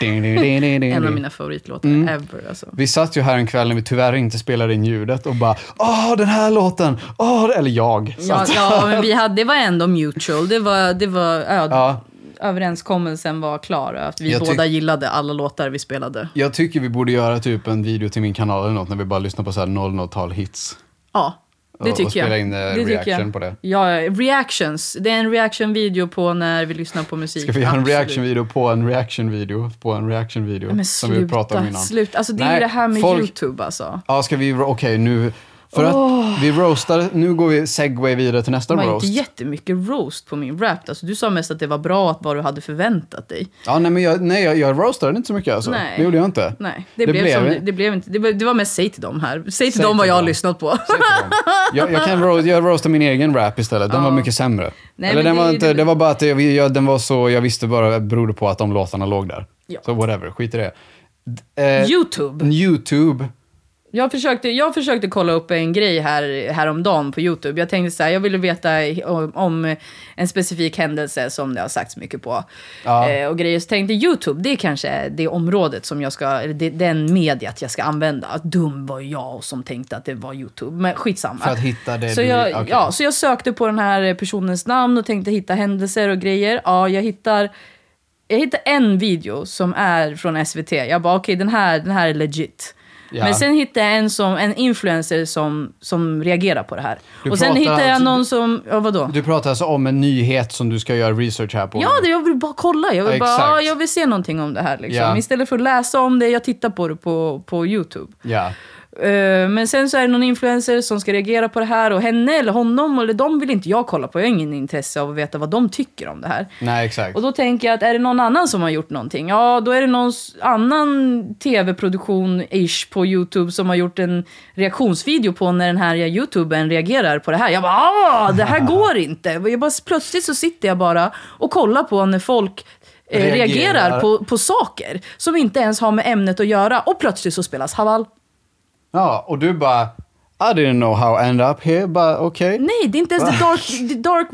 S1: Ding, ding, ding, ding, ding,
S2: En av
S1: ding.
S2: mina favoritlåtar
S1: Mm.
S2: ever. Alltså.
S1: Vi satt ju här en kväll när vi tyvärr inte spelade in ljudet och bara “Åh, den här låten!” Åh, Eller jag.
S2: Ja,
S1: satt.
S2: ja, men vi hade, det var ändå mutual. Det var, det var ö-
S1: Ja.
S2: Överenskommelsen var klar. Att vi
S1: Jag tyck-
S2: båda gillade alla låtar vi spelade.
S1: Jag tycker vi borde göra typ en video till min kanal eller något när vi bara lyssnar på så här 00-tal hits.
S2: Ja, det
S1: Och- och
S2: tycker jag.
S1: spela in, eh,
S2: det tycker
S1: reaction
S2: jag.
S1: på det.
S2: Ja, ja, reactions. Det är en reaction-video på när vi lyssnar på musik.
S1: Ska vi göra en
S2: Absolut.
S1: reaction-video på en reaction-video på en reaction-video?
S2: Men
S1: som
S2: sluta,
S1: vi pratade om innan.
S2: sluta. Alltså, det är
S1: Nej,
S2: ju det här med
S1: folk-
S2: YouTube alltså.
S1: Ja, ska vi... Okej, nu... För att vi roastar... Nu går vi segway vidare till nästa
S2: Det var
S1: roast.
S2: inte jättemycket roast på min rap. Alltså, du sa mest att det var bra att vad du hade förväntat dig.
S1: Ja, nej, men jag, nej, jag, jag roastade inte så mycket alltså.
S2: Nej.
S1: Det gjorde jag inte.
S2: Nej, det, blev, som, det, det blev inte. Det var, det var mest säg till dem här. Säg till
S1: Säg
S2: dem vad
S1: till
S2: jag har
S1: dem.
S2: lyssnat på.
S1: Säg till dem. Jag, jag kan ro, jag roastar min egen rap istället. Den
S2: Ja.
S1: var mycket sämre.
S2: Nej,
S1: Eller
S2: men
S1: den
S2: det är
S1: var
S2: ju
S1: inte,
S2: det-
S1: det var bara att jag, jag, den var så, jag visste bara, det berodde på att de låtarna låg där.
S2: Ja.
S1: Så whatever, skit i det. D- eh,
S2: <laughs> YouTube.
S1: Youtube.
S2: Jag försökte, jag försökte kolla upp en grej här, häromdagen på YouTube. Jag tänkte så här, jag ville veta om, om en specifik händelse som det har sagts mycket på.
S1: Ja.
S2: Eh, och grejer. Så tänkte YouTube, det är kanske är det området som jag ska, eller det, den mediet jag ska använda. Att dum var jag som tänkte att det var YouTube. Men skitsamma.
S1: För att hitta det
S2: så
S1: du-
S2: jag,
S1: okej.
S2: ja, så jag sökte på den här personens namn och tänkte hitta händelser och grejer. Ja, jag hittar jag hittar en video som är från SVT. Jag bara, okej, den, här, den här är legit.
S1: Ja.
S2: Men sen hittade jag en, som, en influencer som, som reagerar på det här.
S1: Du
S2: och sen
S1: pratar
S2: hittade jag
S1: alltså-
S2: någon som, ja vadå?
S1: Du pratar alltså om en nyhet som du ska göra research här på.
S2: Ja, det, jag vill bara kolla. Jag vill,
S1: Ja,
S2: bara,
S1: exakt.
S2: ja, jag vill se någonting om det här. Liksom.
S1: Ja.
S2: Istället för att läsa om det, jag tittar på det på, på YouTube.
S1: Ja.
S2: Eh, Men sen så är det någon influencer som ska reagera på det här och henne eller honom eller de vill inte jag kolla på. Jag har ingen intresse av att veta vad de tycker om det här.
S1: Nej, exakt.
S2: Och då tänker jag att är det någon annan som har gjort någonting? Ja, då är det någon s- annan tv-produktion-ish på YouTube som har gjort en reaktionsvideo på när den här youtubern reagerar på det här. Jag bara, ah, det här går inte. Jag bara, plötsligt så sitter jag bara och kollar på när folk eh, reagerar,
S1: Reagerar.
S2: på, på saker som inte ens har med ämnet att göra. Och plötsligt så spelas Haval.
S1: Ja, och du bara, I didn't know how I ended up here, bara okej.
S2: Nej, det är inte ens the dark, the dark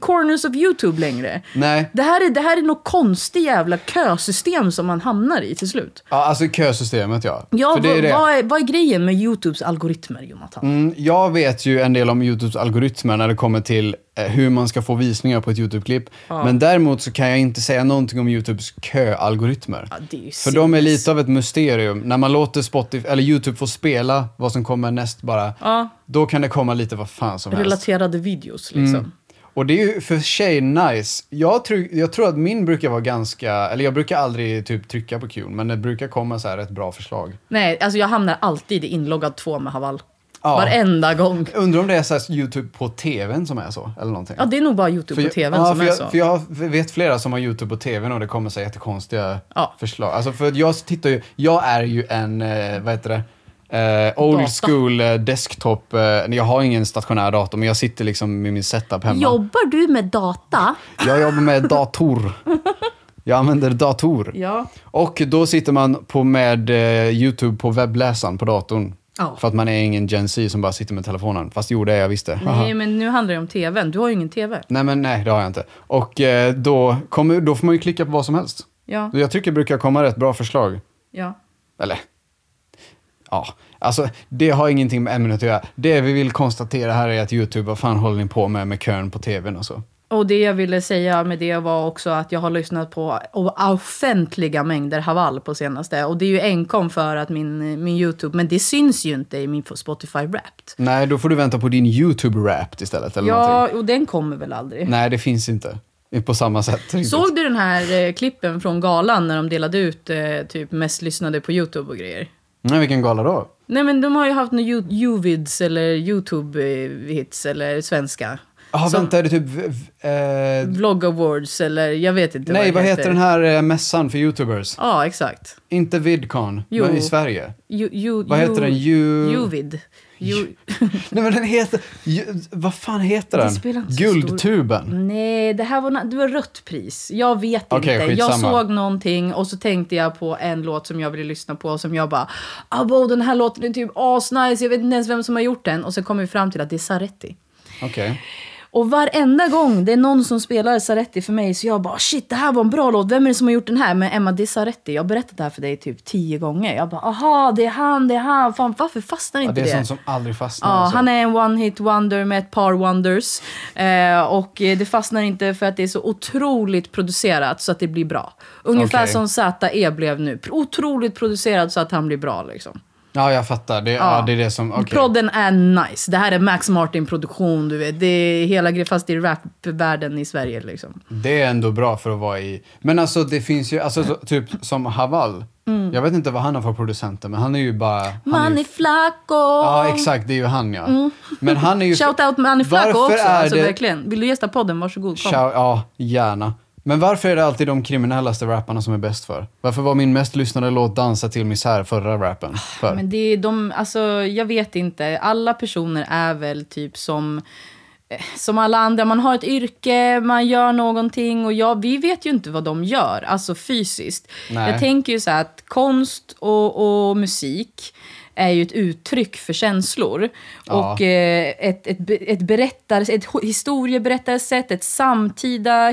S2: corners of YouTube längre.
S1: Nej.
S2: Det här är, det här är något konstigt jävla kösystem som man hamnar i till slut.
S1: Ja, alltså kösystemet ja.
S2: Ja,
S1: För det är
S2: vad,
S1: det.
S2: Vad, är, vad är grejen med Youtubes algoritmer, Jonathan?
S1: Mm, jag vet ju en del om Youtubes algoritmer när det kommer till eh, hur man ska få visningar på ett Youtube-klipp. Men däremot så kan jag inte säga någonting om Youtubes köalgoritmer.
S2: Ja, det är ju
S1: För de är
S2: sinnes.
S1: lite av ett mysterium. När man låter Spotify, eller Youtube få spela vad som kommer näst bara,
S2: Ja.
S1: då kan det komma lite vad fan som helst.
S2: Relaterade videos, liksom.
S1: Mm. Och det är ju för sig nice. Jag, tru- jag tror att min brukar vara ganska, eller jag brukar aldrig typ trycka på kul, men det brukar komma så här ett bra förslag.
S2: Nej, alltså jag hamnar alltid i inloggad två med Haval.
S1: Ja.
S2: Varenda gång.
S1: Undrar om det är så här Youtube på tvn som är så, eller någonting.
S2: Ja, det är nog bara Youtube
S1: jag-
S2: och TVn
S1: ja,
S2: som
S1: för
S2: är
S1: jag,
S2: så.
S1: För jag vet flera som har YouTube och TVn och det kommer så här jättekonstiga
S2: Ja.
S1: förslag. Alltså för att jag tittar ju, jag är ju en, eh, vad heter det? Eh, old
S2: Data.
S1: school eh, desktop. Eh, jag har ingen stationär dator, men jag sitter liksom med min setup hemma.
S2: Jobbar du med data?
S1: Jag jobbar med dator. Jag använder dator.
S2: Ja.
S1: Och då sitter man på med eh, YouTube på webbläsaren på datorn.
S2: Ja.
S1: För att man är ingen Gen Z som bara sitter med telefonen. Fast jo, det är jag visst det. Haha.
S2: Nej, men nu handlar det om TVn. Du har ju ingen TV.
S1: <laughs> Nej, men nej, det har jag inte. Och eh, då, kommer, då får man ju klicka på vad som helst.
S2: Ja,
S1: Jag tycker det brukar komma rätt bra förslag.
S2: ja.
S1: Eller, ja. Alltså, det har ingenting med ämnet att göra. Det vi vill konstatera här är att YouTube, vad fan håller ni på med med kön på tvn och så?
S2: Och det jag ville säga med det var också att jag har lyssnat på o- offentliga mängder Haval på senaste. Och det är ju enkom för att min, min YouTube, men det syns ju inte i min Spotify Wrapped.
S1: Nej, då får du vänta på din YouTube-rap istället eller någonting.
S2: Ja, och den kommer väl aldrig.
S1: Nej, det finns inte. På samma sätt. riktigt.
S2: Såg du den här eh, klippen från galan när de delade ut eh, typ mest lyssnade på YouTube och grejer?
S1: Nej, vilken gala då?
S2: Nej men de har ju haft några Uvids eller YouTube-hits eller svenska.
S1: Ja,
S2: Som-
S1: vänta, är det typ... v- v- Eh,
S2: Vlog Awards eller jag vet inte
S1: nej,
S2: det
S1: vad heter den här eh, mässan för YouTubers?
S2: Ja, exakt.
S1: Inte Vidcon,
S2: Jo.
S1: men i
S2: <laughs>
S1: Sverige.
S2: Ju, ju,
S1: Vad heter den? Ju-
S2: Uvid. Ju...
S1: Nej, men den heter... ju- Vad fan heter
S2: Det
S1: den?
S2: spelar inte så stor-
S1: Guldtuben.
S2: Nej, det här var, na- det var rött pris. Jag vet
S1: Okej,
S2: inte. Jag
S1: skitsamma.
S2: såg någonting och så tänkte jag på en låt som jag ville lyssna på och som jag bara Abo, den här låten är typ asnice, jag vet inte ens vem som har gjort den. Och sen kom vi fram till att det är Saretti.
S1: Okej.
S2: Mm. Och varenda gång det är någon som spelar Saretti för mig så jag bara shit, det här var en bra låt, vem är det som har gjort den här? Men Emma, det är Saretti. Jag har berättat det här för dig typ tio gånger. Jag bara aha, det är han, det är han. Fan, varför fastnar
S1: Ja, det
S2: inte
S1: är
S2: det?
S1: sånt som aldrig fastnar.
S2: Ja,
S1: alltså.
S2: han är en one-hit wonder med ett par wonders. Eh, och eh, det fastnar inte för att det är så otroligt producerat så att det blir bra. Ungefär
S1: Okej.
S2: som ZE blev nu. Pro- Otroligt producerad så att han blir bra liksom.
S1: Ja, jag fattar. Det, ja. det är det som... okej.
S2: Prodden är nice. Det här är Max Martin-produktion, du vet. Det är hela grejen, fast i rapvärlden i Sverige liksom.
S1: Det är ändå bra för att vara i... Men alltså det finns ju, alltså så, typ som Haval. Jag vet inte vad han har för producenter, men han är ju bara... han är ju-
S2: Mm. Manny Flacco!
S1: Ja, exakt. Det är ju han, ja. Men han är ju...
S2: <laughs> Shout out Manny Flacco
S1: Varför
S2: också.
S1: är
S2: Alltså,
S1: det-
S2: verkligen. Vill du gästa podden? Varsågod, kom.
S1: Shout, ja, gärna. Men varför är det alltid de kriminellaste rapparna som är bäst för? Varför var min mest lyssnade låt Dansa till misär förra rappen? För?
S2: Ah, Men det är de, alltså jag vet inte. Alla personer är väl typ som eh, som alla andra, man har ett yrke, man gör någonting och ja, vi vet ju inte vad de gör, alltså fysiskt.
S1: Nej.
S2: Jag tänker ju så här att konst och, och musik är ju ett uttryck för känslor.
S1: Ja.
S2: Och eh, ett, ett, be- ett, berättar, ett ho- historieberättarsätt, ett samtida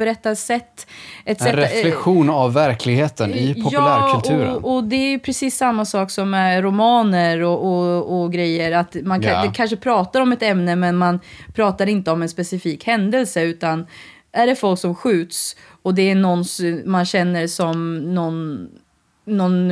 S2: historieberättarsätt. Ett
S1: en
S2: sätt- eh,
S1: reflektion av verkligheten i populärkulturen.
S2: Ja, och, och det är precis samma sak som med romaner och, och, och grejer. Att man kan,
S1: Ja.
S2: det kanske pratar om ett ämne, men man pratar inte om en specifik händelse. Utan är det folk som skjuts och det är någon s- man känner som någon någon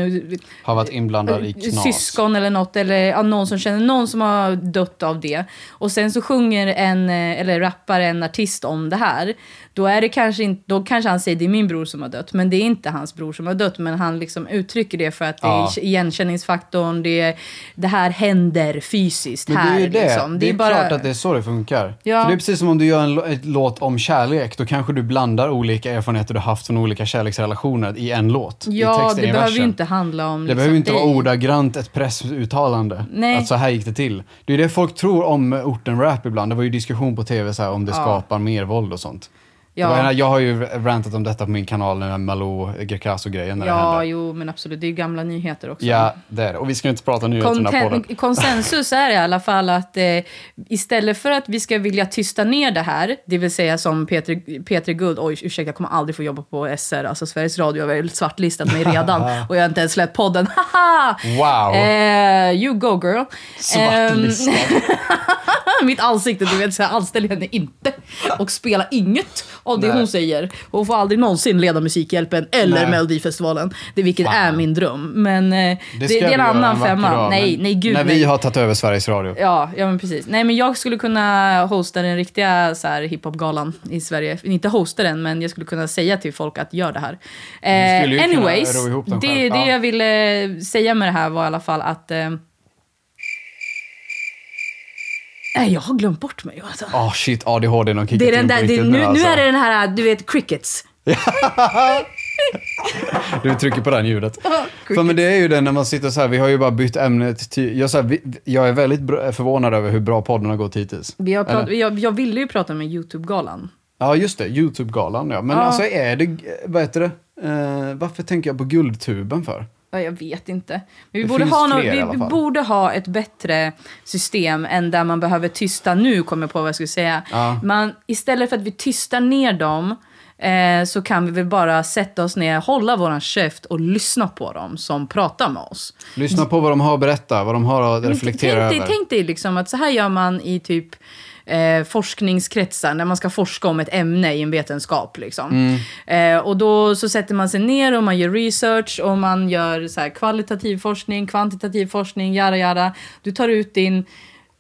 S1: Har varit inblandad i knas.
S2: Eh, syskon eller något, eller ja, någon som känner någon som har dött av det. Och sen så sjunger en, eh, eller rappar en artist om det här. Då, är det kanske inte, då kanske han säger det är min bror som har dött, men det är inte hans bror som har dött. Men han liksom uttrycker det för att det
S1: Ja.
S2: är igenkänningsfaktorn, det, är, det här händer fysiskt
S1: Men det
S2: här.
S1: är ju det.
S2: Liksom.
S1: det, är klart att det är så det funkar.
S2: Ja.
S1: För det är precis som om du gör en lo- ett låt om kärlek. Då kanske du blandar olika erfarenheter du haft från olika kärleksrelationer i en låt. i
S2: Ja,
S1: texten,
S2: det
S1: i versen.
S2: behöver ju inte handla om... liksom.
S1: Det behöver ju inte vara
S2: dig.
S1: ordagrant ett pressuttalande.
S2: Nej.
S1: Att så här gick det till. Det är det folk tror om orten-rap ibland. Det var ju diskussion på tv så här, om det
S2: Ja.
S1: skapar mer våld och sånt. Det
S2: Ja.
S1: var- jag har ju rantat om detta på min kanal, den här Malou Grecaso-grejen när det
S2: Ja,
S1: hände.
S2: jo, men absolut. Det är ju gamla nyheter också.
S1: Ja, det är det. Och vi ska ju inte prata nyheterna på den.
S2: Konten- konsensus är i alla fall att eh, istället för att vi ska vilja tysta ner det här, det vill säga som Peter, Peter Guld, oj ursäkta jag kommer aldrig få jobba på SR, alltså Sveriges Radio har väl svartlistat
S1: <laughs>
S2: mig redan och jag har inte ens släppt podden, <laughs> haha!
S1: Wow!
S2: Eh, you go girl.
S1: <laughs> Svartlistad.
S2: Ehm, <laughs> mitt ansikte, du vet, så jag anställer henne inte och spelar inget av det
S1: Nej.
S2: hon säger. Hon får aldrig någonsin leda Musikhjälpen eller
S1: Nej.
S2: Melodifestivalen, det, vilket
S1: Fan.
S2: är min dröm. Men eh, det,
S1: ska
S2: det är
S1: vi
S2: en
S1: göra
S2: annan
S1: vacker
S2: femma.
S1: dag,
S2: nej,
S1: men
S2: nej, gud
S1: När
S2: nej.
S1: vi har tagit över Sveriges Radio.
S2: Ja, ja men precis. Nej men jag skulle kunna hosta den riktiga så här, hiphopgalan i Sverige. Inte hosta den, men jag skulle kunna säga till folk att gör det här.
S1: Du skulle ju
S2: Eh,
S1: kunna
S2: anyways,
S1: ro ihop den
S2: det,
S1: själv.
S2: det
S1: Ja.
S2: jag ville säga med det här var i alla fall att... Eh, nej, jag har glömt bort mig. Alltså.
S1: Ah shit, ADHD de kickar
S2: Det är
S1: till
S2: den där,
S1: på
S2: det,
S1: riktigt
S2: nu, nu
S1: alltså.
S2: är det den här, du vet, crickets.
S1: Du trycker på det här ljudet. För men det är ju det när man sitter så här, vi har ju bara bytt ämne till... Jag, så här, vi, jag är väldigt bra- förvånad över hur bra podden har gått hittills.
S2: Vi har prat,
S1: Eller?
S2: jag, jag ville ju prata med YouTube-galan.
S1: Ja just det, Youtube-galan ja. Men
S2: Ja.
S1: alltså är det, vad heter det, eh, varför tänker jag på Guldtuben för?
S2: Ja, jag vet inte. Men vi,
S1: Det
S2: borde
S1: finns
S2: ha, nå-
S1: fler i
S2: vi,
S1: alla
S2: vi
S1: fall.
S2: borde ha ett bättre system än där man behöver tysta. Nu kommer jag på vad jag skulle säga.
S1: Ja.
S2: Man, istället för att vi tystar ner dem eh, så kan vi väl bara sätta oss ner, hålla våran käft och lyssna på dem som pratar med oss.
S1: Lyssna på vad de har att berätta, vad de har att
S2: Men
S1: reflektera
S2: tänk, dig,
S1: över.
S2: tänk dig liksom att så här gör man i typ eh, forskningskretsar när man ska forska om ett ämne i en vetenskap. Liksom. Eh, och då så sätter man sig ner och man gör research och man gör så här, kvalitativ forskning, kvantitativ forskning, jada jada. Du tar ut din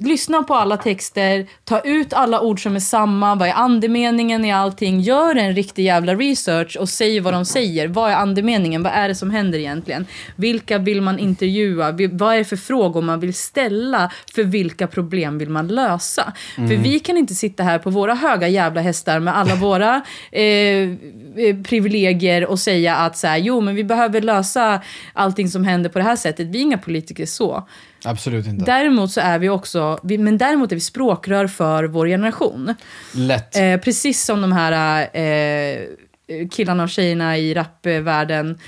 S2: Lyssna på alla texter, ta ut alla ord som är samma, vad är andemeningen i allting, gör en riktig jävla research och säg vad de säger. Vad är andemeningen? Vad är det som händer egentligen? Vilka vill man intervjua? Vi- Vad är det för frågor man vill ställa? För vilka problem vill man lösa? För vi kan inte sitta här på våra höga jävla hästar med alla våra eh, eh, privilegier och säga att så här, jo men vi behöver lösa allting som händer på det här sättet. Vi är inga politiker så.
S1: Absolut inte.
S2: Däremot så är vi också, vi, men däremot är vi språkrör för vår generation.
S1: Lätt.
S2: Eh, precis som de här eh, killarna och tjejerna i rapvärlden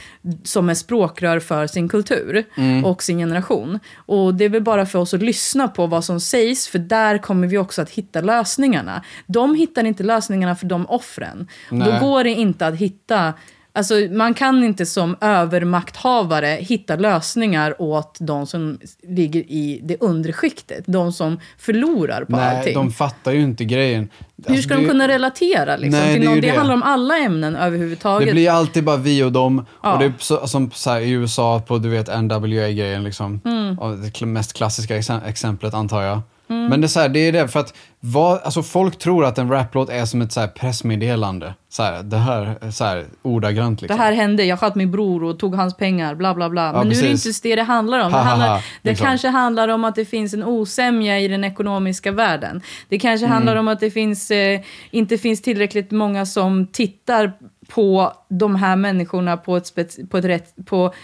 S2: som är språkrör för sin kultur
S1: Mm.
S2: och sin generation. Och det är väl bara för oss att lyssna på vad som sägs, för där kommer vi också att hitta lösningarna. De hittar inte lösningarna för de offren.
S1: Nej.
S2: Då går det inte att hitta Alltså, man kan inte som övermakthavare hitta lösningar åt de som ligger i det undre skiktet. De som förlorar på
S1: Nej,
S2: allting.
S1: de fattar ju inte grejen.
S2: Hur
S1: Alltså,
S2: ska
S1: det-
S2: de kunna relatera liksom,
S1: Nej, det
S2: till
S1: är
S2: någon?
S1: ju
S2: Det,
S1: det.
S2: handlar om alla ämnen överhuvudtaget.
S1: Det blir alltid bara vi och dem.
S2: Ja.
S1: Och det är så, som så här, i USA på du vet NWA-grejen. Liksom.
S2: Mm.
S1: Och Det kl- mest klassiska exe- exemplet antar jag. Men det är, så här, det är det för att vad, alltså folk tror att en raplåt är som ett så här pressmeddelande. Så här, det här, så här ordagrant
S2: Det
S1: liksom.
S2: här hände, jag sköt min bror och tog hans pengar, bla bla bla. Men nu är det
S1: precis.
S2: inte just det det handlar om. Det,
S1: Ha, ha, ha,
S2: handlar, det
S1: liksom.
S2: kanske handlar om att det finns en osämja i den ekonomiska världen. Det kanske
S1: Mm.
S2: handlar om att det finns, eh, inte finns tillräckligt många som tittar på de här människorna på ett, spets, på ett, rätt, på,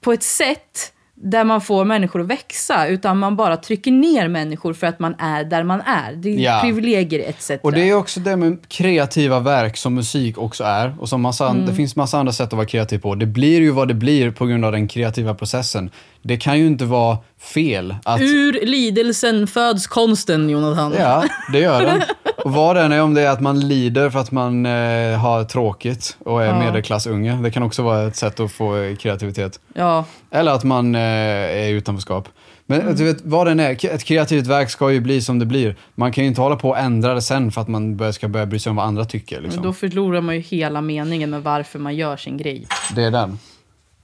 S2: på ett sätt där man får människor att växa, utan man bara trycker ner människor för att man är där man är. Det är
S1: Ja.
S2: privilegier etc.
S1: Och det är också det med kreativa verk som musik också är. Och som massa,
S2: Mm.
S1: Det finns massa andra sätt att vara kreativ på. Det blir ju vad det blir på grund av den kreativa processen. Det kan ju inte vara fel att
S2: Ur lidelsen föds konsten, Jonathan.
S1: Alltså- Ja, det gör den. Och vad den är, om det är att man lider för att man eh, har tråkigt och är
S2: Ja.
S1: medelklassunge. Det kan också vara ett sätt att få eh, kreativitet.
S2: Ja.
S1: Eller att man eh, är i utanförskap. Men
S2: Mm.
S1: du vet, vad den är, ett kreativt verk ska ju bli som det blir. Man kan ju inte hålla på och ändra det sen för att man bör- ska börja bry sig om vad andra tycker.
S2: Men
S1: Liksom.
S2: då förlorar man ju hela meningen med varför man gör sin grej.
S1: Det är den.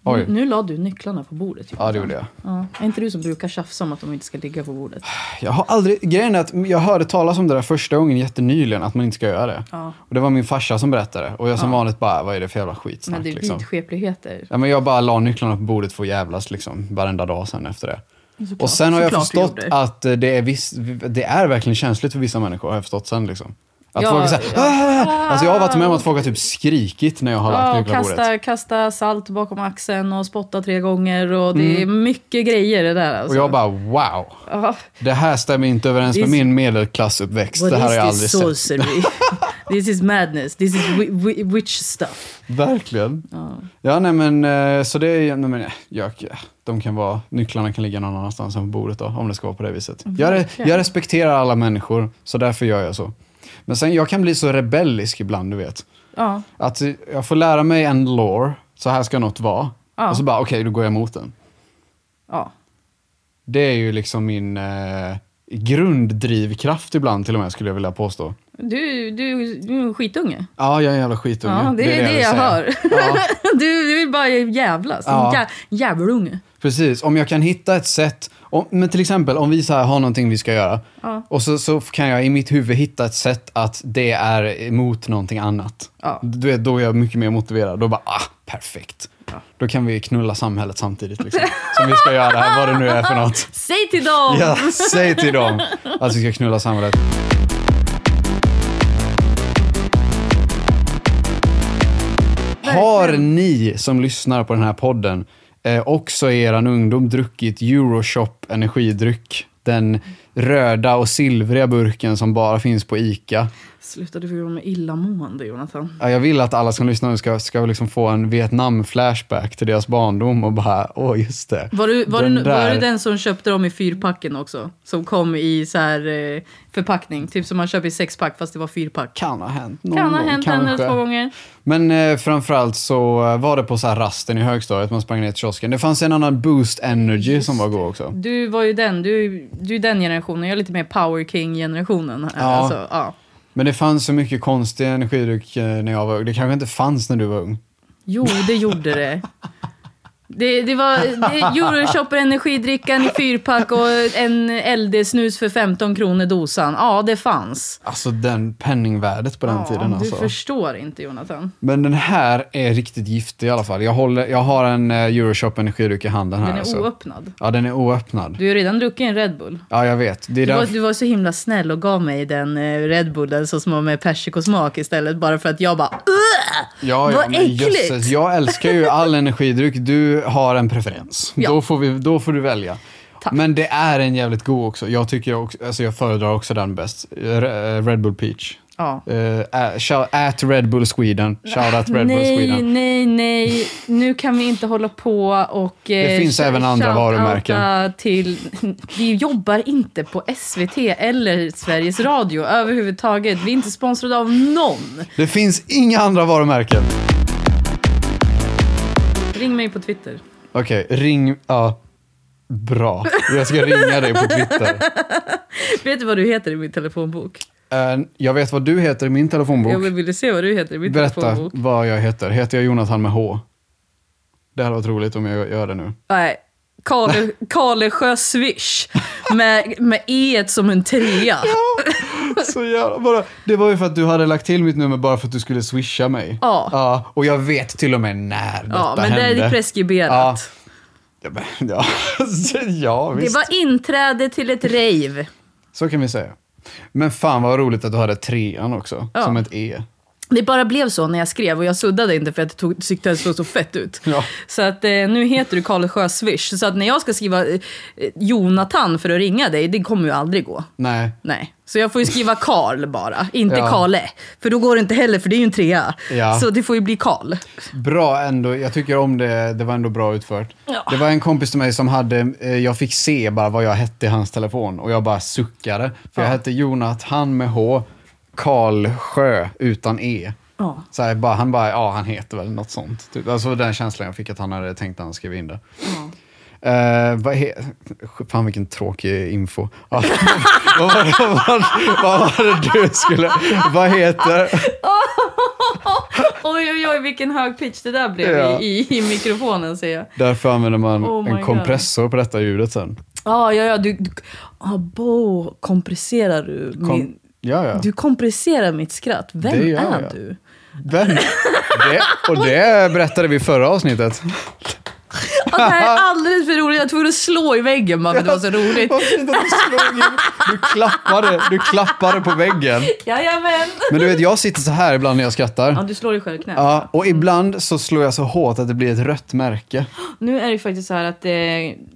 S1: Oj.
S2: Nu, nu la du nycklarna på bordet.
S1: Ja, det gjorde jag. Ah,
S2: Ja. Är inte du som brukar tjafsa om att de inte ska ligga på bordet?
S1: Jag har aldrig, grejen är att jag hörde talas om det där första gången jättenyligen, att man inte ska göra det.
S2: Ja.
S1: Och det var min farsa som berättade. Och jag som vanligt bara, vad är det för jävla skitsnack?
S2: Men det är
S1: liksom.
S2: vidskepligheter.
S1: ja, men jag bara la nycklarna på bordet för att jävlas liksom, varenda dag sen efter det.
S2: Såklart-
S1: och sen har jag
S2: såklart du
S1: förstått
S2: gjorde.
S1: att eh, det är, viss, det är verkligen känsligt för vissa människor, har jag förstått sen. Liksom. Att
S2: Ja,
S1: folk är såhär,
S2: ja.
S1: "Ah!" alltså jag har varit med om att folk har typ skrikit när jag har lagt
S2: Ja, och
S1: nycklar på bordet.
S2: kasta, kasta salt bakom axeln och spotta tre gånger. Och det är mycket grejer det där. Alltså.
S1: Mm. Och jag bara, wow.
S2: Ja.
S1: Det här stämmer inte överens med
S2: This-
S1: min medelklassuppväxt.
S2: What
S1: det här har
S2: is
S1: jag aldrig
S2: this
S1: sett. <laughs>
S2: sorcery? this is madness. This is wi- wi- witch stuff.
S1: Verkligen. Ja. nej men eh, så det är, nej, men eh, jag, de kan vara, nycklarna kan ligga någon annanstans än på bordet då, om det ska vara på det viset. Jag, re,
S2: Verkligen.
S1: jag respekterar alla människor, så därför gör jag så. Men sen, jag kan bli så rebellisk ibland, du vet.
S2: Ja.
S1: Att eh, jag får lära mig en lore, så här ska något vara.
S2: Ja.
S1: Och så bara, okej, då går jag emot den.
S2: ja.
S1: Det är ju liksom min eh, grunddrivkraft ibland till och med, skulle jag vilja påstå.
S2: Du, du, du är en skitunge.
S1: Ja, jag är en jävla skitunge.
S2: Ja, det, är det,
S1: vill
S2: jag,
S1: säga.
S2: hör.
S1: Ja.
S2: <laughs> Du, du vill bara jävlas.
S1: Ja.
S2: Ja. Djävulunge.
S1: Precis, om jag kan hitta ett sätt, om, men till exempel om vi så här har någonting vi ska göra
S2: Ja.
S1: och så, så kan jag i mitt huvud hitta ett sätt att det är emot någonting annat.
S2: Ja.
S1: Du vet, då är jag mycket mer motiverad. Då bara, ah, perfekt. Då kan vi knulla samhället samtidigt liksom. Som vi ska göra här, vad det nu är för något.
S2: Säg till dem!
S1: Ja, säg till dem att vi ska knulla samhället. Har ni som lyssnar på den här podden eh, också i er ungdom druckit Euroshop energidryck? Den röda och silvriga burken som bara finns på ICA.
S2: Sluta, du får göra mig illamående, Jonathan.
S1: Ja, Jag vill att alla som lyssnar nu ska, ska liksom få en Vietnam-flashback till deras barndom och bara, åh just det.
S2: Var du, var,
S1: Den
S2: du, var
S1: där-
S2: du den som köpte dem i fyrpacken också? Som kom i så här eh, förpackning, typ som man köper i sexpack fast det var fyrpack.
S1: Kan ha hänt någon
S2: Kan ha
S1: gång,
S2: hänt en
S1: kanske.
S2: eller två gånger.
S1: Men eh, framförallt så eh, var det på så här rasten i högstadiet, man sprang ner till kiosken. Det fanns en annan Boost Energy som var god också.
S2: Du var ju den, du, du är den generationen, jag är lite mer power king-generationen. här,
S1: Ja.
S2: Alltså, ja.
S1: Men det fanns så mycket konstig energidryck eh, när jag var ung. Det kanske inte fanns när du var ung.
S2: Jo, det gjorde det. Det, det var det- Euroshopper energidrickan i fyrpack och en LD-snus för 15 kronor dosan. Ja, det fanns.
S1: Alltså den penningvärdet på den
S2: Ja,
S1: tiden
S2: du
S1: alltså.
S2: förstår inte Jonathan.
S1: Men den här är riktigt giftig i alla fall. Jag, håller, jag har en eh, Euroshop energidryck i handen här.
S2: Den är
S1: alltså.
S2: oöppnad.
S1: Ja, den är oöppnad.
S2: Du har redan druckit en Red Bull.
S1: Ja, jag vet. Det är
S2: Du var,
S1: därför...
S2: du var så himla snäll och gav mig den eh, Red Bullen så som var med persikosmak istället bara för att jag bara "Ugh!"
S1: Ja, ja,
S2: Vad
S1: men
S2: äckligt!
S1: jösses, jag älskar ju all energidryck. Du har en preferens.
S2: Ja.
S1: Då, får vi, då får du välja.
S2: Tack.
S1: Men det är en jävligt god också. Jag, tycker jag, också, alltså jag föredrar också den bäst. Re- eh, Red Bull Peach.
S2: Ja.
S1: Eh, a- shout- at Red Bull Sweden. Shout out Red Bull
S2: Nej,
S1: Sweden.
S2: nej, nej. Nu kan vi inte hålla på och... eh,
S1: Det finns även andra varumärken.
S2: Till, vi jobbar inte på SVT eller Sveriges Radio överhuvudtaget. Vi är inte sponsrade av någon.
S1: Det finns inga andra varumärken.
S2: Ring mig på Twitter.
S1: Okej, ring... Ja. Bra. Jag ska ringa dig på
S2: <laughs>
S1: Twitter.
S2: Vet du vad du heter i min telefonbok?
S1: Eh, jag vet vad du heter i min
S2: Jag
S1: telefonbok.
S2: vill se vad du heter i min
S1: Berätta
S2: telefonbok.
S1: vad jag heter. Heter jag Jonathan med H? Det här var roligt om jag gör det
S2: <laughs>
S1: nu.
S2: Nej. Kale, Kalesjö Swish med, med E som en trea.
S1: Så jävla, bara, det var ju för att du hade lagt till mitt nummer bara för att du skulle swisha mig.
S2: Ja.
S1: ja och jag vet till och med när detta
S2: Ja, men
S1: hände.
S2: det är preskriberat.
S1: Ja. Ja, men- ja, <laughs> ja
S2: det
S1: visst.
S2: var inträde till ett rave.
S1: Så kan vi säga. Men fan vad roligt att du hade trean också,
S2: Ja.
S1: som ett E.
S2: Det bara blev så när jag skrev och jag suddade inte för att det tog, tyckte att det såg så fett ut.
S1: Ja.
S2: Så att eh, nu heter du Karlsjö Swish. Så att när jag ska skriva eh, eh, Jonathan för att ringa dig, det kommer ju aldrig gå.
S1: Nej.
S2: Nej. Så jag får ju skriva Karl bara, inte
S1: Ja.
S2: Karle. För då går det inte heller, för det är ju en trea.
S1: Ja.
S2: Så det får ju bli Karl.
S1: Bra ändå, jag tycker om det, det var ändå bra utfört.
S2: Ja.
S1: Det var en kompis till mig som hade, eh, jag fick se bara vad jag hette i hans telefon och jag bara suckade. För jag
S2: Ja.
S1: hette Jonathan med H, Karlsjö utan E.
S2: Ja.
S1: Så här, bara, han bara, ja han heter väl något sånt. Typ. Alltså den känslan jag fick att han hade tänkt när han skrev in det. Eh, vad he- Fan vilken tråkig info. Ja, <laughs> vad, var det, vad, var- vad var det du skulle... Vad heter...
S2: <laughs> Oj, oj, oj, vilken hög pitch det där blev
S1: Ja.
S2: i, i, i mikrofonen, säger jag.
S1: Därför använder man
S2: Oh my
S1: en
S2: God.
S1: kompressor på detta ljudet sen.
S2: Ja, ja, ja, du... du ah, bo, kompresserar du
S1: Kom,
S2: min...
S1: Ja, ja.
S2: Du kompresserar mitt skratt. Vem
S1: Det gör
S2: är
S1: jag.
S2: du?
S1: Vem? Det, och det berättade vi i förra avsnittet.
S2: Ah, det här är alldeles för roligt. Jag var tvungen att slå i väggen bara för att det var så roligt.
S1: Vad fint att du slog in. Du klappade, du klappade på väggen.
S2: Jajamän!
S1: Men du vet, jag sitter så här ibland när jag
S2: Ja,
S1: skrattar.
S2: du slår dig själv i knät.
S1: Ja, och ibland så slår jag så hårt att det blir ett rött märke.
S2: Nu är det ju faktiskt så här att, eh,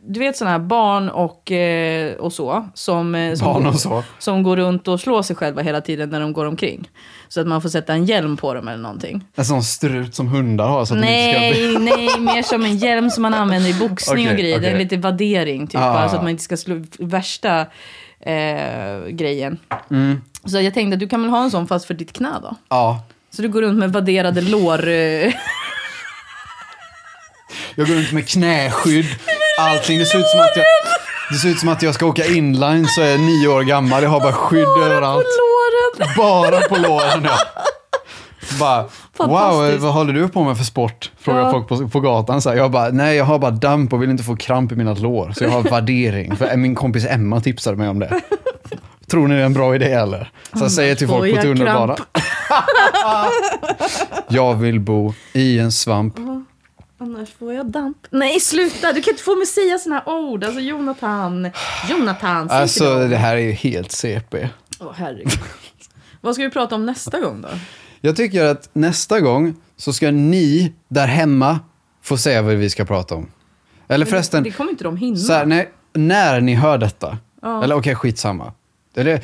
S2: du vet sådana här barn och, eh, och så, som, eh, som,
S1: Barn och så.
S2: som går runt och slår sig själva hela tiden när de går omkring. Så att man får sätta en hjälm på dem eller någonting.
S1: En sån strut som hundar har. Så att De inte ska bli...
S2: Nej, nej, mer som en hjälm som man använder i boxning och
S1: Okej,
S2: grejer. Det är
S1: okej.
S2: lite vaddering typ,
S1: Ah.
S2: bara, så att man inte ska slå värsta eh, grejen.
S1: Mm.
S2: Så jag tänkte att du kan väl ha en sån fast för ditt knä då?
S1: Ja,
S2: Så du går runt med vadderade lår... Eh,
S1: Jag går runt med knäskydd. Allting. Det ser, ut som att jag, det ser ut som att jag ska åka inline så är jag nio år gammal. Jag har bara skydd
S2: på
S1: överallt.
S2: låren!
S1: Bara på låren ja. Bara, wow,
S2: Fantastiskt.
S1: vad håller du på med för sport? Frågar
S2: Ja.
S1: folk på, på gatan. Så här, jag bara, nej jag har bara damp och vill inte få kramp i mina lår. Så jag har värdering. För min kompis Emma tipsade mig om det. Tror ni det är en bra idé eller? Så jag säger till folk på
S2: får jag
S1: tunnelbanan. <laughs> jag vill bo i en svamp.
S2: Annars får jag damp. Nej, sluta! Du kan inte få mig säga såna här ord. Alltså Jonathan. Jonathan, säg inte
S1: Alltså
S2: dem.
S1: det här är ju helt CP.
S2: Åh, herregud. Vad ska vi prata om nästa gång då?
S1: Jag tycker att nästa gång så ska ni där hemma få säga vad vi ska prata om. Eller
S2: Det
S1: förresten,
S2: kommer inte de hinna.
S1: så här, nej, när ni hör detta.
S2: Ja.
S1: Eller okej, skitsamma.
S2: <laughs>
S1: Eller,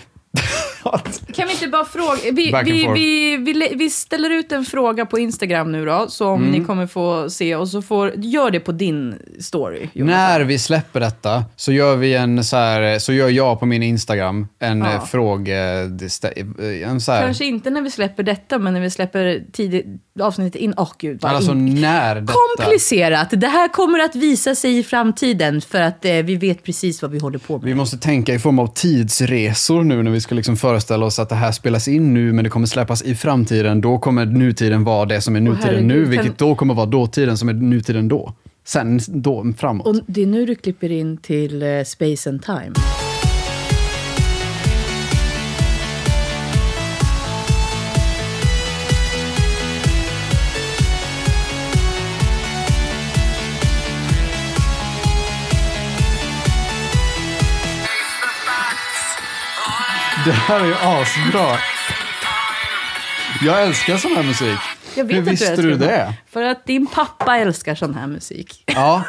S2: Kan vi inte bara fråga? Vi,
S1: Back and
S2: vi,
S1: forth.
S2: vi, vi, lä- vi ställer ut en fråga på Instagram nu då, som
S1: Mm.
S2: ni kommer få se. Och så får, gör det på din story. Jonathan.
S1: när vi släpper detta så gör, vi en, så, här, så gör jag på min Instagram en eh,
S2: Ja.
S1: ja. fråge... eh, En så här,
S2: Kanske inte när vi släpper detta, men när vi släpper tidigt, avsnittet in. Åh gud, vad
S1: alltså
S2: in-
S1: när detta...
S2: komplicerat. Det här kommer att visa sig i framtiden för att eh, vi vet precis vad vi håller på med.
S1: Vi måste tänka i form av tidsresor nu när vi ska liksom föreställa oss att det här spelas in nu men det kommer släppas i framtiden. Då kommer nutiden vara det som är nutiden
S2: herregud,
S1: nu,
S2: kan-
S1: vilket då kommer vara dåtiden som är nutiden då. Sen då, framåt.
S2: Och det är nu du klipper in till eh, Space and Time.
S1: Det här är ju asbra. Jag älskar sån här musik.
S2: Jag vet
S1: Hur
S2: att
S1: visste
S2: älskar
S1: du
S2: den.
S1: det?
S2: För att din pappa älskar sån här musik.
S1: Ja.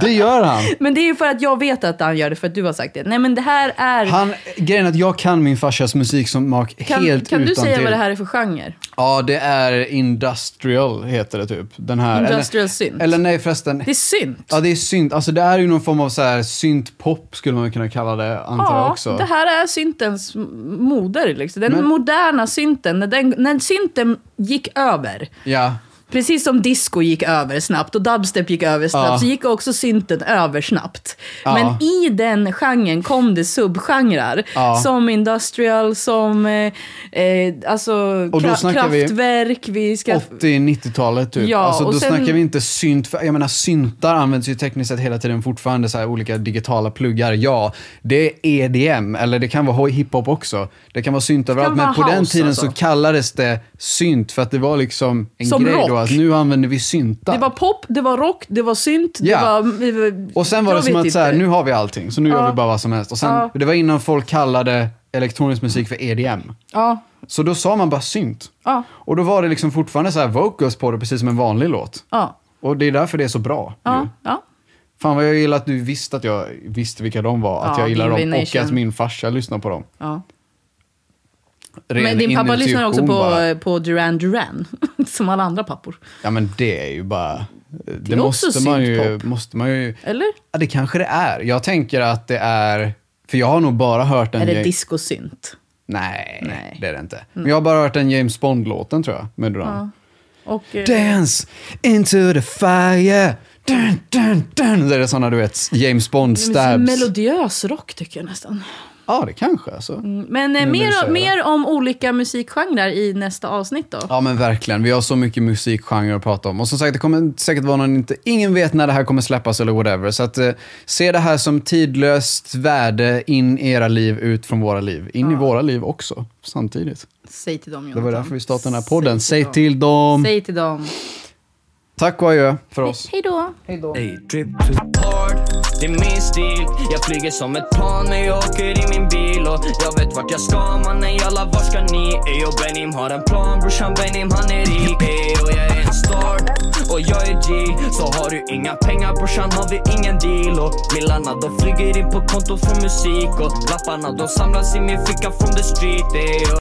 S1: Det gör han.
S2: Men det är ju för att jag vet att han gör det, för att du har sagt det. Nej men det här är...
S1: han grejen är att jag kan min farsas musiksmak
S2: kan
S1: helt
S2: kan du
S1: utan
S2: säga
S1: till.
S2: vad det här är för genre?
S1: Ja, det är industrial heter det typ. Den här.
S2: Industrial
S1: eller,
S2: synth.
S1: Eller nej förresten.
S2: Det är synt.
S1: Ja, det är synt. Alltså det är ju någon form av så här syntpop skulle man kunna kalla det, antar jag
S2: Ja,
S1: också.
S2: det här är syntens m- moder. Liksom. Den
S1: Men-
S2: moderna synten, när, den, när synten gick över,
S1: Ja.
S2: Precis som disco gick över snabbt och dubstep gick över snabbt
S1: Ja.
S2: så gick också synten över snabbt.
S1: Ja.
S2: Men i den genren kom det subgenrer.
S1: Ja.
S2: Som industrial, som eh, eh, alltså,
S1: Och då
S2: kra-
S1: snackar vi-
S2: kraftverk. Vi ska...
S1: 80-90-talet typ.
S2: Ja,
S1: alltså,
S2: och
S1: då
S2: sen-
S1: snackar vi inte synt. För, jag menar, syntar används ju tekniskt sett hela tiden fortfarande, så här, olika digitala pluggar. Ja, det är EDM, eller det kan vara hiphop också. Det kan vara synt överallt,
S2: vara
S1: men på den
S2: house,
S1: tiden
S2: alltså.
S1: så kallades det synt för att det var liksom en
S2: Som
S1: grej då
S2: rock.
S1: att nu använder vi syntar.
S2: Det var pop, det var rock, det var synt,
S1: Ja.
S2: det var... vi- vi-
S1: Och sen var det
S2: jag
S1: som
S2: vet
S1: att så här,
S2: inte.
S1: nu har vi allting, så nu
S2: Ja.
S1: gör vi bara vad som helst. Och sen,
S2: Ja.
S1: Det var innan folk kallade elektronisk musik för EDM.
S2: Ja,
S1: Så då sa man bara synt.
S2: ja,
S1: Och då var det liksom fortfarande så här vocals på det, precis som en vanlig låt.
S2: ja.
S1: Och det är därför det är så bra.
S2: Ja,
S1: ju.
S2: ja.
S1: Fan vad jag gillar att du visste att jag visste vilka de var, att
S2: Ja,
S1: jag gillar dem och
S2: Divination.
S1: att min farsa lyssnar på dem.
S2: ja.
S1: Ren
S2: Men din pappa lyssnar också
S1: intuition
S2: på,
S1: bara.
S2: eh, på Duran Duran, <laughs> som alla andra pappor.
S1: Ja men det är ju bara... Det,
S2: är också
S1: måste, man ju,
S2: syntpop.
S1: måste man ju...
S2: Eller?
S1: Ja, det kanske det är. Jag tänker att det är... För jag har nog bara hört en...
S2: Är det
S1: James-
S2: discosynt?
S1: Nej,
S2: Nej. Mm.
S1: det är det inte. Men jag har bara hört en James Bond-låten tror jag, med Duran.
S2: Och, eh,
S1: Dance into the fire. Dun, dun, dun. Det är sådana du vet, James Bond
S2: Det är så
S1: stabs.
S2: Melodiös rock tycker jag nästan.
S1: Ja, Ja, det kanske alltså.
S2: Men eh,
S1: Nu när du säger
S2: mer,
S1: det.
S2: mer om olika musikgenrer i nästa avsnitt då.
S1: Ja men verkligen, vi har så mycket musikgenrer att prata om. Och som sagt, det kommer säkert vara någon inte, ingen vet när det här kommer släppas eller whatever. Så att, eh, se det här som tidlöst värde in i era liv, ut från våra liv. In i våra liv också, samtidigt.
S2: Säg till dem
S1: Det
S2: Jonathan.
S1: var därför vi startade den här podden. Säg
S2: dem.
S1: till dem!
S2: Säg till dem.
S1: Tack och adjö för oss.
S2: Hej då.
S6: Ey, drip to hard, det är min stil Jag flyger som ett plan när jag åker i min bil Och jag vet vart jag ska mannen jalla vart ska ni? Ey och Benim har en plan brorsan Benim han är rik Ey och jag är en star och jag är G Så har du inga pengar brorsan har vi ingen deal Och millarna de flyger in på konto från musik Och lapparna de samlas i min ficka från the street Ey och